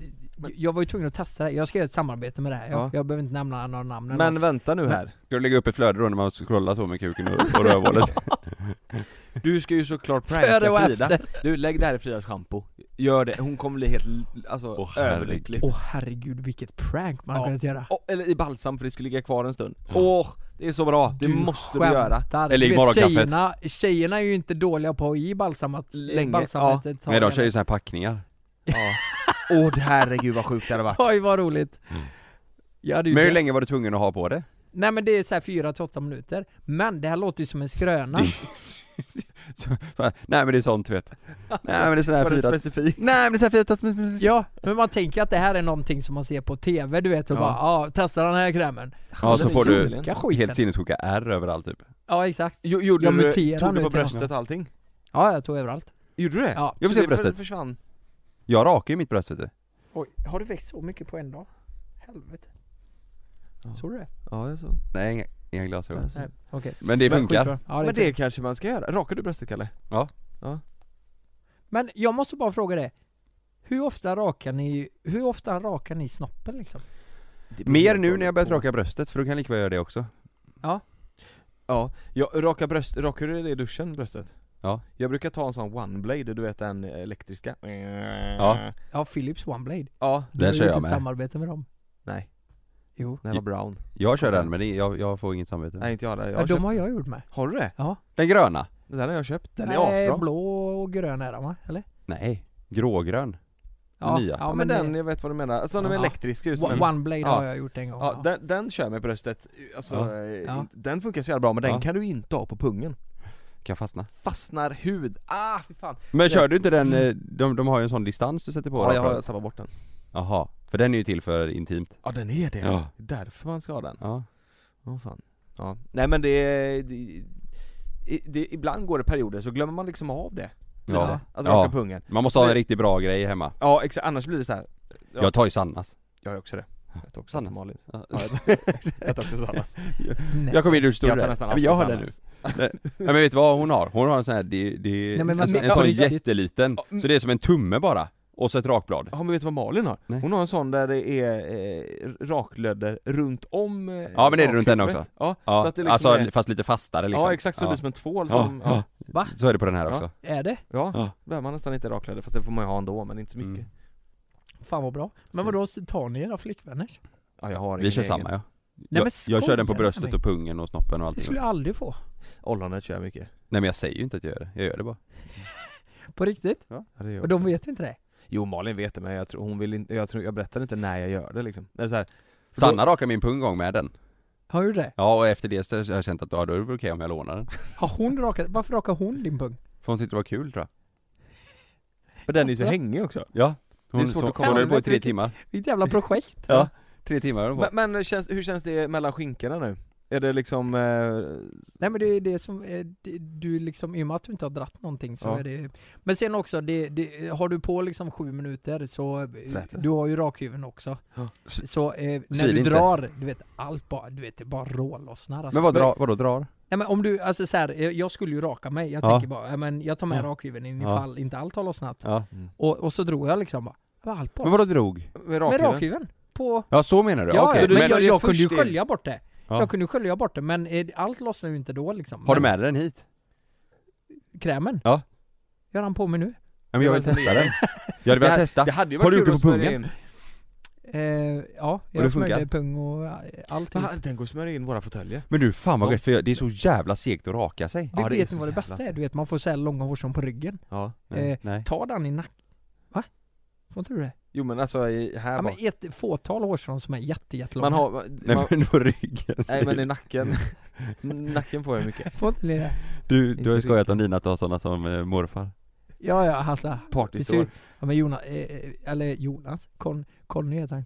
B: jag var ju tvungen att testa det här. Jag ska göra ett samarbete med det här. Jag,
D: Ja.
B: jag behöver inte nämna några namn eller
D: Men
B: något.
D: vänta nu här.
C: Ska du lägga upp ett flöde då när man scrollar så med kuken och, och rövhålet?
D: Du ska ju såklart
B: Före och
D: pranka Frida. Du, lägg det här i Fridas schampo. Gör det, hon kommer bli helt, l- alltså,
C: Åh,
D: överlycklig.
B: Åh herregud vilket prank man har
D: Ja.
B: kunnat göra.
D: Åh, eller i balsam för det skulle ligga kvar en stund. Åh, det är så bra. Det måste du göra.
B: skämtar.
C: Eller i
B: Du vet,
C: morgonkaffet.
B: tjäjerna, tjejerna är ju inte dåliga på att ge balsamat
D: Länge,
B: balsamet ett tag
C: Nej de
B: eller-
C: kör ju så här packningar
D: Ja. Åh herregud vad sjukt det hade varit.
B: Oj vad roligt!
D: Mm.
B: Jag hade ju
C: Men hur
B: det.
C: länge var du tvungen att ha på det?
B: Nej men det är så här 4 till 8 minuter Men det här låter ju som en skröna
C: Nej men det är sånt vet Nej men det är sådär
D: Var det
C: fyra
D: specifikt?
C: Nej men det är sådär fyra
B: Ja, men man tänker att det här är någonting som man ser på TV du vet och
D: Ja.
B: bara ja, testa den här krämen
C: Ja så
D: men
C: får du
D: förmodligen.
B: Vilka skiten!
C: helt sinnessjuka ärr överallt typ
B: Ja exakt
D: Jo, gjorde
B: Jag
D: du
B: muterar
D: det? Tog
B: nu
D: du på
B: till
D: bröstet och allting?
B: Ja jag tog överallt
D: Gjorde du det?
B: Ja.
C: Jag vill se
D: Så det för-
C: bröstet.
D: försvann?
C: Jag rakar ju mitt bröst vet du
B: Oj, har du växt så mycket på en dag? Helvete
D: Ja.
B: Såg du det?
D: Ja, det är så.
C: Nej inga, inga glasögon
D: Nej.
B: Okej
C: Men det
B: Men
C: funkar
B: skitbra. Ja, det
D: Men
B: funkar.
D: det kanske man ska göra. Rakar du bröstet Kalle?
B: Men jag måste bara fråga det. Hur ofta rakar ni, hur ofta rakar ni snoppen liksom?
C: Mer nu när jag börjat raka bröstet för då kan jag lika väl göra det också
D: Ja, jag rakar bröst, rakar du det i duschen bröstet?
C: Ja.
D: Jag brukar ta en sån one blade, du vet den elektriska
C: Ja.
B: Ja, Philips OneBlade.
D: Ja,
B: Du har
C: Den
B: ju
C: kör
B: gjort
C: jag
B: ett
C: med
B: samarbete med dem.
D: nej,
B: Jo.
D: den var brown
C: Jag kör den men det, jag, jag får inget samvete
D: Nej inte jag där, jag
B: Ja,
D: har,
B: de
D: köpt.
B: har jag gjort med.
D: har du det?
C: Den gröna?
D: Den har jag köpt, den är
B: Nej,
D: asbra
B: blå och grön är de va? Eller?
C: Nej Grågrön nya.
D: Ja men den, jag vet vad du menar, alltså de är
B: Ja.
D: elektriska just men-
B: One- OneBlade
D: Ja.
B: har jag gjort en gång.
D: Ja, den, den kör jag med bröstet, alltså,
C: Ja.
D: eh,
B: Ja.
D: den funkar så jävla bra men den
C: Ja.
D: kan du inte ha på pungen
C: Kan fastna
D: Fastnar hud, ah fy fan
C: Men kör du inte den, eh, de, de har ju en sån distans du sätter på
D: Ja, jag har
C: rakbladet.
D: tappat bort den
C: Jaha, för den är ju till för intimt
D: Ja den är det,
C: Ja.
D: det är därför man ska ha den
C: Ja,
D: Åh fan. Ja. Nej men det, är- det, i- det, ibland går det perioder så glömmer man liksom av det. Lite. Alltså,
C: ja.
D: Att raka
C: ja.
D: pungen.
C: Man måste ha en riktigt bra grej hemma
D: Ja exakt, annars blir det så här. Ja.
C: Jag tar ju Sannas
D: Jag är också det. Jag tar också
C: Sannas.
D: till Malin.
C: Ja.
D: Ja, Jag tar också Sannas.
B: Nej.
C: Jag kommer in i
D: Jag
C: duschstolen
D: tar
C: där.
D: nästan
C: Ja, men jag har
D: alltid
C: den nu
D: Sannas.
C: Nej men vet du vad hon har? Hon har en sån här, det, det,
B: Nej, men
C: en,
B: vad-
C: sån- en
B: ja,
C: sån
B: men-
C: jätteliten,
D: Ja, mm.
C: så det är som en tumme bara, och så ett rakblad
D: Ja men vet du vad Malin har?
C: Nej.
D: Hon har en sån där det är eh, raklödder runt om eh,
C: Ja, men det är det runt den
D: rakhuvudet. Ja,
C: Ja,
D: så att det liksom
C: alltså
D: är,
C: fast lite fastare liksom
D: Ja exakt, så det blir som en tvål
C: Ja,
D: som, ja,
B: Va?
C: Så är det på den här
D: Ja.
C: också
B: Är det?
D: ja,
C: Ja.
D: behöver man nästan inte raklödder fast det får man ju ha ändå men inte så mycket
C: Mm.
B: Fan vad bra. Men vadå, så tar ni era flickvänners?
D: Ja jag har
C: Vi
D: ingen
C: kör
D: egen.
C: samma ja
B: men
C: jag, jag kör den på
B: skojar
C: bröstet
B: du?
C: och pungen och snoppen och
B: Det
C: allting
B: skulle jag aldrig få.
D: Ollonet kör jag mycket
C: Nej men jag säger ju inte att jag gör det, jag gör det bara
B: På riktigt.
D: ja, det gör jag
B: Och de
D: också.
B: vet inte det.
D: Jo Malin vet det men jag tror hon vill inte, jag tror, jag berättar inte när jag gör det liksom det är så här, för då-
C: Sanna rakar min pung en gång med den
B: Har du det?
C: Ja och efter det så har jag känt att ja, då är det väl okej om jag lånar den
B: Har hon rakat, varför rakar hon din pung?
C: För hon tyckte det var kul tror jag
D: Men den är ju så hängig också
C: Ja
D: är
C: Hon,
D: svårt
C: så,
D: att
C: hon
D: komma-
C: håller på i tre
B: Helvete,
C: timmar
B: Vilket jävla projekt.
C: Ja Tre timmar har hon på
D: Men, men känns, hur känns det mellan skinkorna nu? Är det liksom... Eh,
B: Nej men det är det som, eh, det- du liksom, i och med att du inte har dratt någonting så
D: Ja.
B: är det Men sen också, det, det, har du på liksom sju minuter så, eh,
D: Fräter.
B: du har ju rakhyveln också
D: Ja.
C: S-
B: Så eh, när
C: svider
B: du
C: inte.
B: drar, du vet allt bara, du vet det bara rålossnar alltså.
C: Men vad dra, vadå drar?
B: Nej men om du, alltså så här, eh, jag skulle ju raka mig, jag
C: Ja.
B: tänker bara, eh, men jag tar med
C: Ja.
B: rakhyveln in
C: Ja.
B: ifall inte allt har lossnat
C: Ja.
B: och, och så drog jag liksom bara, det var allt bara
C: Men vadå drog?
D: med
B: Med
D: rakhyveln?
B: rakhyveln? På
C: Ja så menar du?
B: Ja,
C: Okej.
D: så du-
B: men
D: men
B: jag,
D: det
B: jag
D: är
B: kunde ju
D: först det.
B: skölja bort det.
C: Ja.
B: Jag kunde ju skölja bort det, men eh, allt lossnar ju inte då liksom.
C: Har du
B: Men
C: med dig den hit?
B: Krämen?
C: Ja.
B: Gör han på mig nu?
C: Ja, men jag vill testa den. Jag hade velat
D: Det-
C: testa.
D: Det hade ju
C: Har du
D: varit
C: gjort
D: kul
C: det
D: att
C: på
D: smörja
C: pungen?
D: in.
B: Eh, ja,
C: det
B: jag smörjde
C: funkar?
B: pung och eh, allting.
D: Fan, Tänk att smörja in våra fåtöljer.
C: Men du fan vad gött för jag, det är så jävla segt att raka sig.
B: Du
D: Ja, det är
B: vet
D: så
B: ni vad det
D: jävla
B: bästa är?
D: segt.
B: Du vet, man får så här långa hårstrån på ryggen.
D: Ja.
B: Eh,
C: Nej.
B: Ta den i nacken. Va? Får inte du det?
D: Jo men alltså i, här
B: Ja, men
D: bak.
B: ett fåtal hårstrån som är jätte, jättelånga.
D: Man har...
C: Nej
D: man,
C: men på ryggen.
D: nej men i nacken. nacken får jag mycket.
B: Får inte ni det?
C: Du, du har ju
D: Inte
C: skojat om dina att ha sådana som eh, morfar.
B: Ja, ja, alltså. Det ser
D: Partystår.
B: ju- Ja men Jonas, eh, eh, eller Jonas, Con, Conny heter han.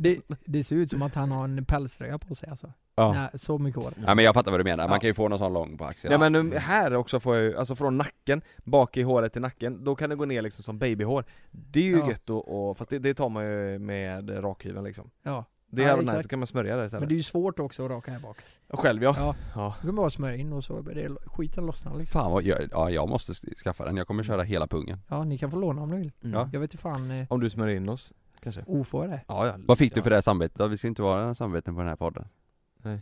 B: det, det ser ut som att han har en pälsröja på sig alltså.
C: Ja.
B: Nej, så mycket hår.
C: Ja eh, men jag fattar vad du menar, man
B: Ja.
C: kan ju få någon sån lång på axeln.
D: Nej men um, här också får jag ju, alltså från nacken, bak i håret till nacken, då kan det gå ner liksom som babyhår Det är ju
B: Ja.
D: gött och, och fast det, det tar man ju med rakhyveln liksom
B: Ja.
D: Det
B: Ja,
D: är nice,
B: exakt.
D: då kan man smörja det
B: Men
D: istället
B: det är ju svårt också att raka här bak.
D: Själv ja,
B: Ja.
D: ja.
B: Du kan bara smörja in och så börjar det, skiten lossnar liksom.
C: Fan vad, jag, ja jag måste sk- skaffa den, jag kommer köra hela pungen.
B: Ja, ni kan få låna om ni vill.
D: Mm.
C: Ja.
B: Jag vet ju fan, eh,
D: Om du smörjer in oss, kanske?
B: ofå är det.
D: Ja, ja.
C: Vad fick du
D: ja.
C: för det här samvetet? Ja, Vi ska inte vara samveten på den här podden.
D: Nej.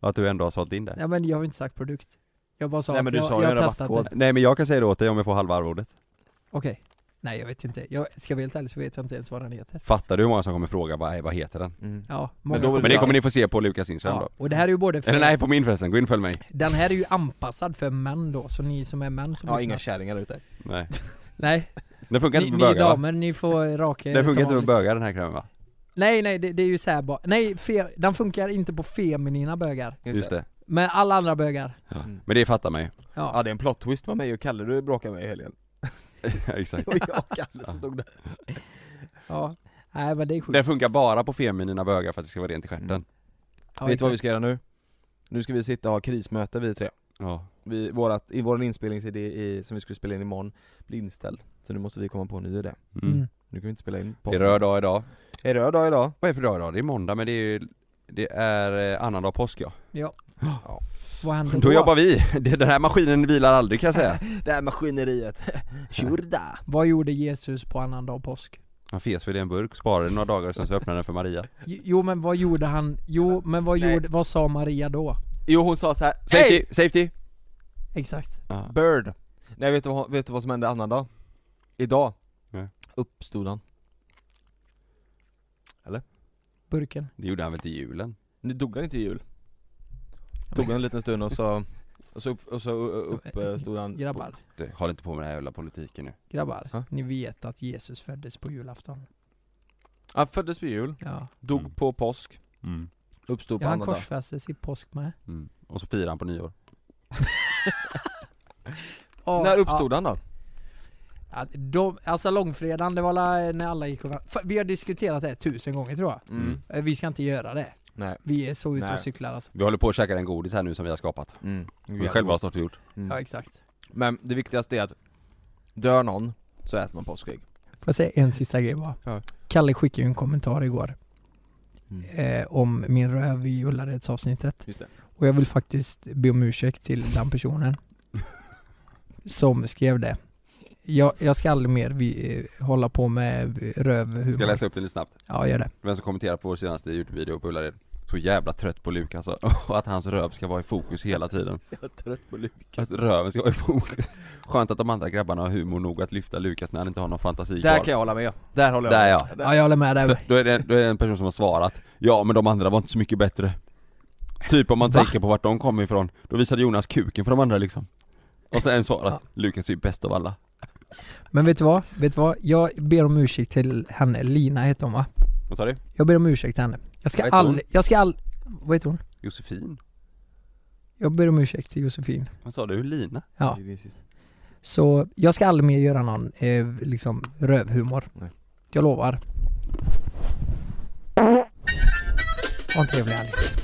C: Att du ändå har sålt in det.
B: Nej men jag har inte sagt produkt. Jag bara sa
D: Nej,
B: att
D: men du
B: jag,
D: sa ju
B: jag
D: en
B: har testat
D: rabattkod.
B: det.
C: Nej men jag kan säga det åt dig om jag får halva arvodet.
B: Okej. Nej jag vet inte. Jag, ska jag vara helt ärlig så vet jag inte ens vad den heter.
C: Fattar du hur många som kommer fråga vad, vad heter den?
D: Mm.
B: Ja, många
D: då vill
C: Men det kommer ni få se på Lukas Instagram
B: ja, Och det här är ju både
C: då.
B: för,
C: Eller nej, på min förresten, gå in och följ mig.
B: den här är ju anpassad för män då, så ni som är män som
D: Ja,
B: lyssnar.
D: inga kärringar ute
C: Nej.
B: Nej,
C: Den funkar
B: Ni,
C: inte med
B: ni
C: bögar va?
B: damer, ni får raka er
C: Den
B: som
C: funkar inte
B: vanligt.
C: med bögar den här krämen va?
B: Nej nej, det, det är ju såhär bara, nej fe, den funkar inte på feminina bögar.
C: Just det.
B: Men alla andra bögar.
C: Ja.
D: Mm.
C: Men det fattar man ju.
D: Ja
B: Ja.
D: det är en plot twist vad mig och Kalle du bråkade med i helgen
C: Ja, Exakt.
D: Och jag och Kalle som stod där
B: ja. Nej men det är sjukt.
C: Den funkar bara på feminina bögar för att det ska vara rent i stjärten.
B: Ja,
D: Vet du vad vi
B: exakt.
D: ska göra nu? Nu ska vi sitta och ha krismöte vi tre
C: Ja.
D: vi, vårat, i Vår inspelningsidé i, som vi skulle spela in imorgon blir inställd Så nu måste vi komma på en ny idé
C: Mm.
B: Mm.
D: Nu kan vi inte spela in
C: Det är röd dag idag.
D: Det är röd dag idag
C: Vad är det för dag idag? Det är måndag men det är ju det är eh, annandag påsk ja.
B: Ja.
D: Ja.
B: Vad händer
C: Mm. Då jobbar vi! Det- Den här maskinen vilar aldrig kan jag säga.
D: Det här maskineriet, tjurda!
B: Vad gjorde Jesus på annandag påsk?
C: Han fes väl i en burk, sparade den några dagar och sen så öppnade den för Maria.
B: Jo- Jo men vad gjorde han? Jo men vad
D: Nej.
B: gjorde, vad sa Maria då?
D: Jo hon sa så här.
C: Safety!
D: Hey! Ah.
C: Safety!
B: Exakt.
D: Bird! Nej vet du, vad, vet du vad som hände annan dag? Idag?
C: Nej.
D: Uppstod han
B: Burken.
C: Det gjorde han väl till julen?
D: Nu dog han inte i jul Tog han en liten stund och så, och så, upp, och så upp, eh, stod han
B: Grabbar,
C: Du, håll inte på med den här jävla politiken nu.
B: grabbar.
D: Ha?
B: Ni vet att Jesus föddes på julafton.
D: Han föddes vid jul,
B: Ja.
D: dog
C: Mm.
D: på påsk,
C: Mm.
D: uppstod på
B: ja han
D: annandag
B: korsfästes i påsk med.
C: Och så firar han på nyår.
B: Ja,
D: När
B: ja.
D: uppstod han då?
B: Ja, de, alltså långfredagen, det var la- när alla gick och vä- Fan, Vi har diskuterat det här tusen gånger tror jag.
D: Mm.
B: Eh, Vi ska inte göra det.
D: Nej.
B: Vi är så ute
D: Nej.
B: och cyklar alltså.
C: Vi håller på att käka den godis här nu som vi har skapat.
D: Mm.
C: Vi själva har stått och gjort.
B: Ja
D: Mm.
B: exakt.
D: Men det viktigaste är att dör någon så äter man påskägg
B: Får jag säga en sista grej bara?
D: Ja.
B: Kalle skickade ju en kommentar igår.
D: Mm.
B: Eh, om min röv i Ullareds avsnittet.
D: Just det.
B: Och jag vill faktiskt be om ursäkt till den personen. som skrev det. Jag, jag ska aldrig mer vi, eh, hålla på med rövhumor.
C: Ska jag läsa upp den lite snabbt?
B: Ja gör det.
C: Vem som kommenterar på vår senaste Youtube-video på Ullared Så jävla trött på Lukas alltså. och att hans röv ska vara i fokus hela tiden
D: Så jag är trött på Lukas
C: Att röven ska vara i fokus Skönt att de andra grabbarna har humor nog att lyfta Lukas när han inte har någon fantasi
D: Där
C: kvar
D: kan jag hålla med, där håller jag
C: Där
D: med
C: ja
B: Ja jag håller med
C: så,
B: dig.
C: då, är det, då är det en person som har svarat Ja men de andra var inte så mycket bättre Typ om man
B: Va?
C: tänker på vart de kommer ifrån Då visade Jonas kuken för de andra liksom Och sen svarat Lukas är ju bäst av alla
B: Men vet du vad? Vet du vad? Jag ber om ursäkt till henne. Lina heter hon va?
C: Vad sa du?
B: Jag ber om ursäkt till henne. Jag ska
C: Vad heter hon?
B: aldrig, jag ska all... Vad heter hon?
C: Josefin?
B: Jag ber om ursäkt till Josefin.
C: Vad sa du? Lina?
B: Ja.
D: Det är din syster.
B: Så jag ska aldrig mer göra någon eh, liksom rövhumor.
D: Nej.
B: Jag lovar. Ha en trevlig helg.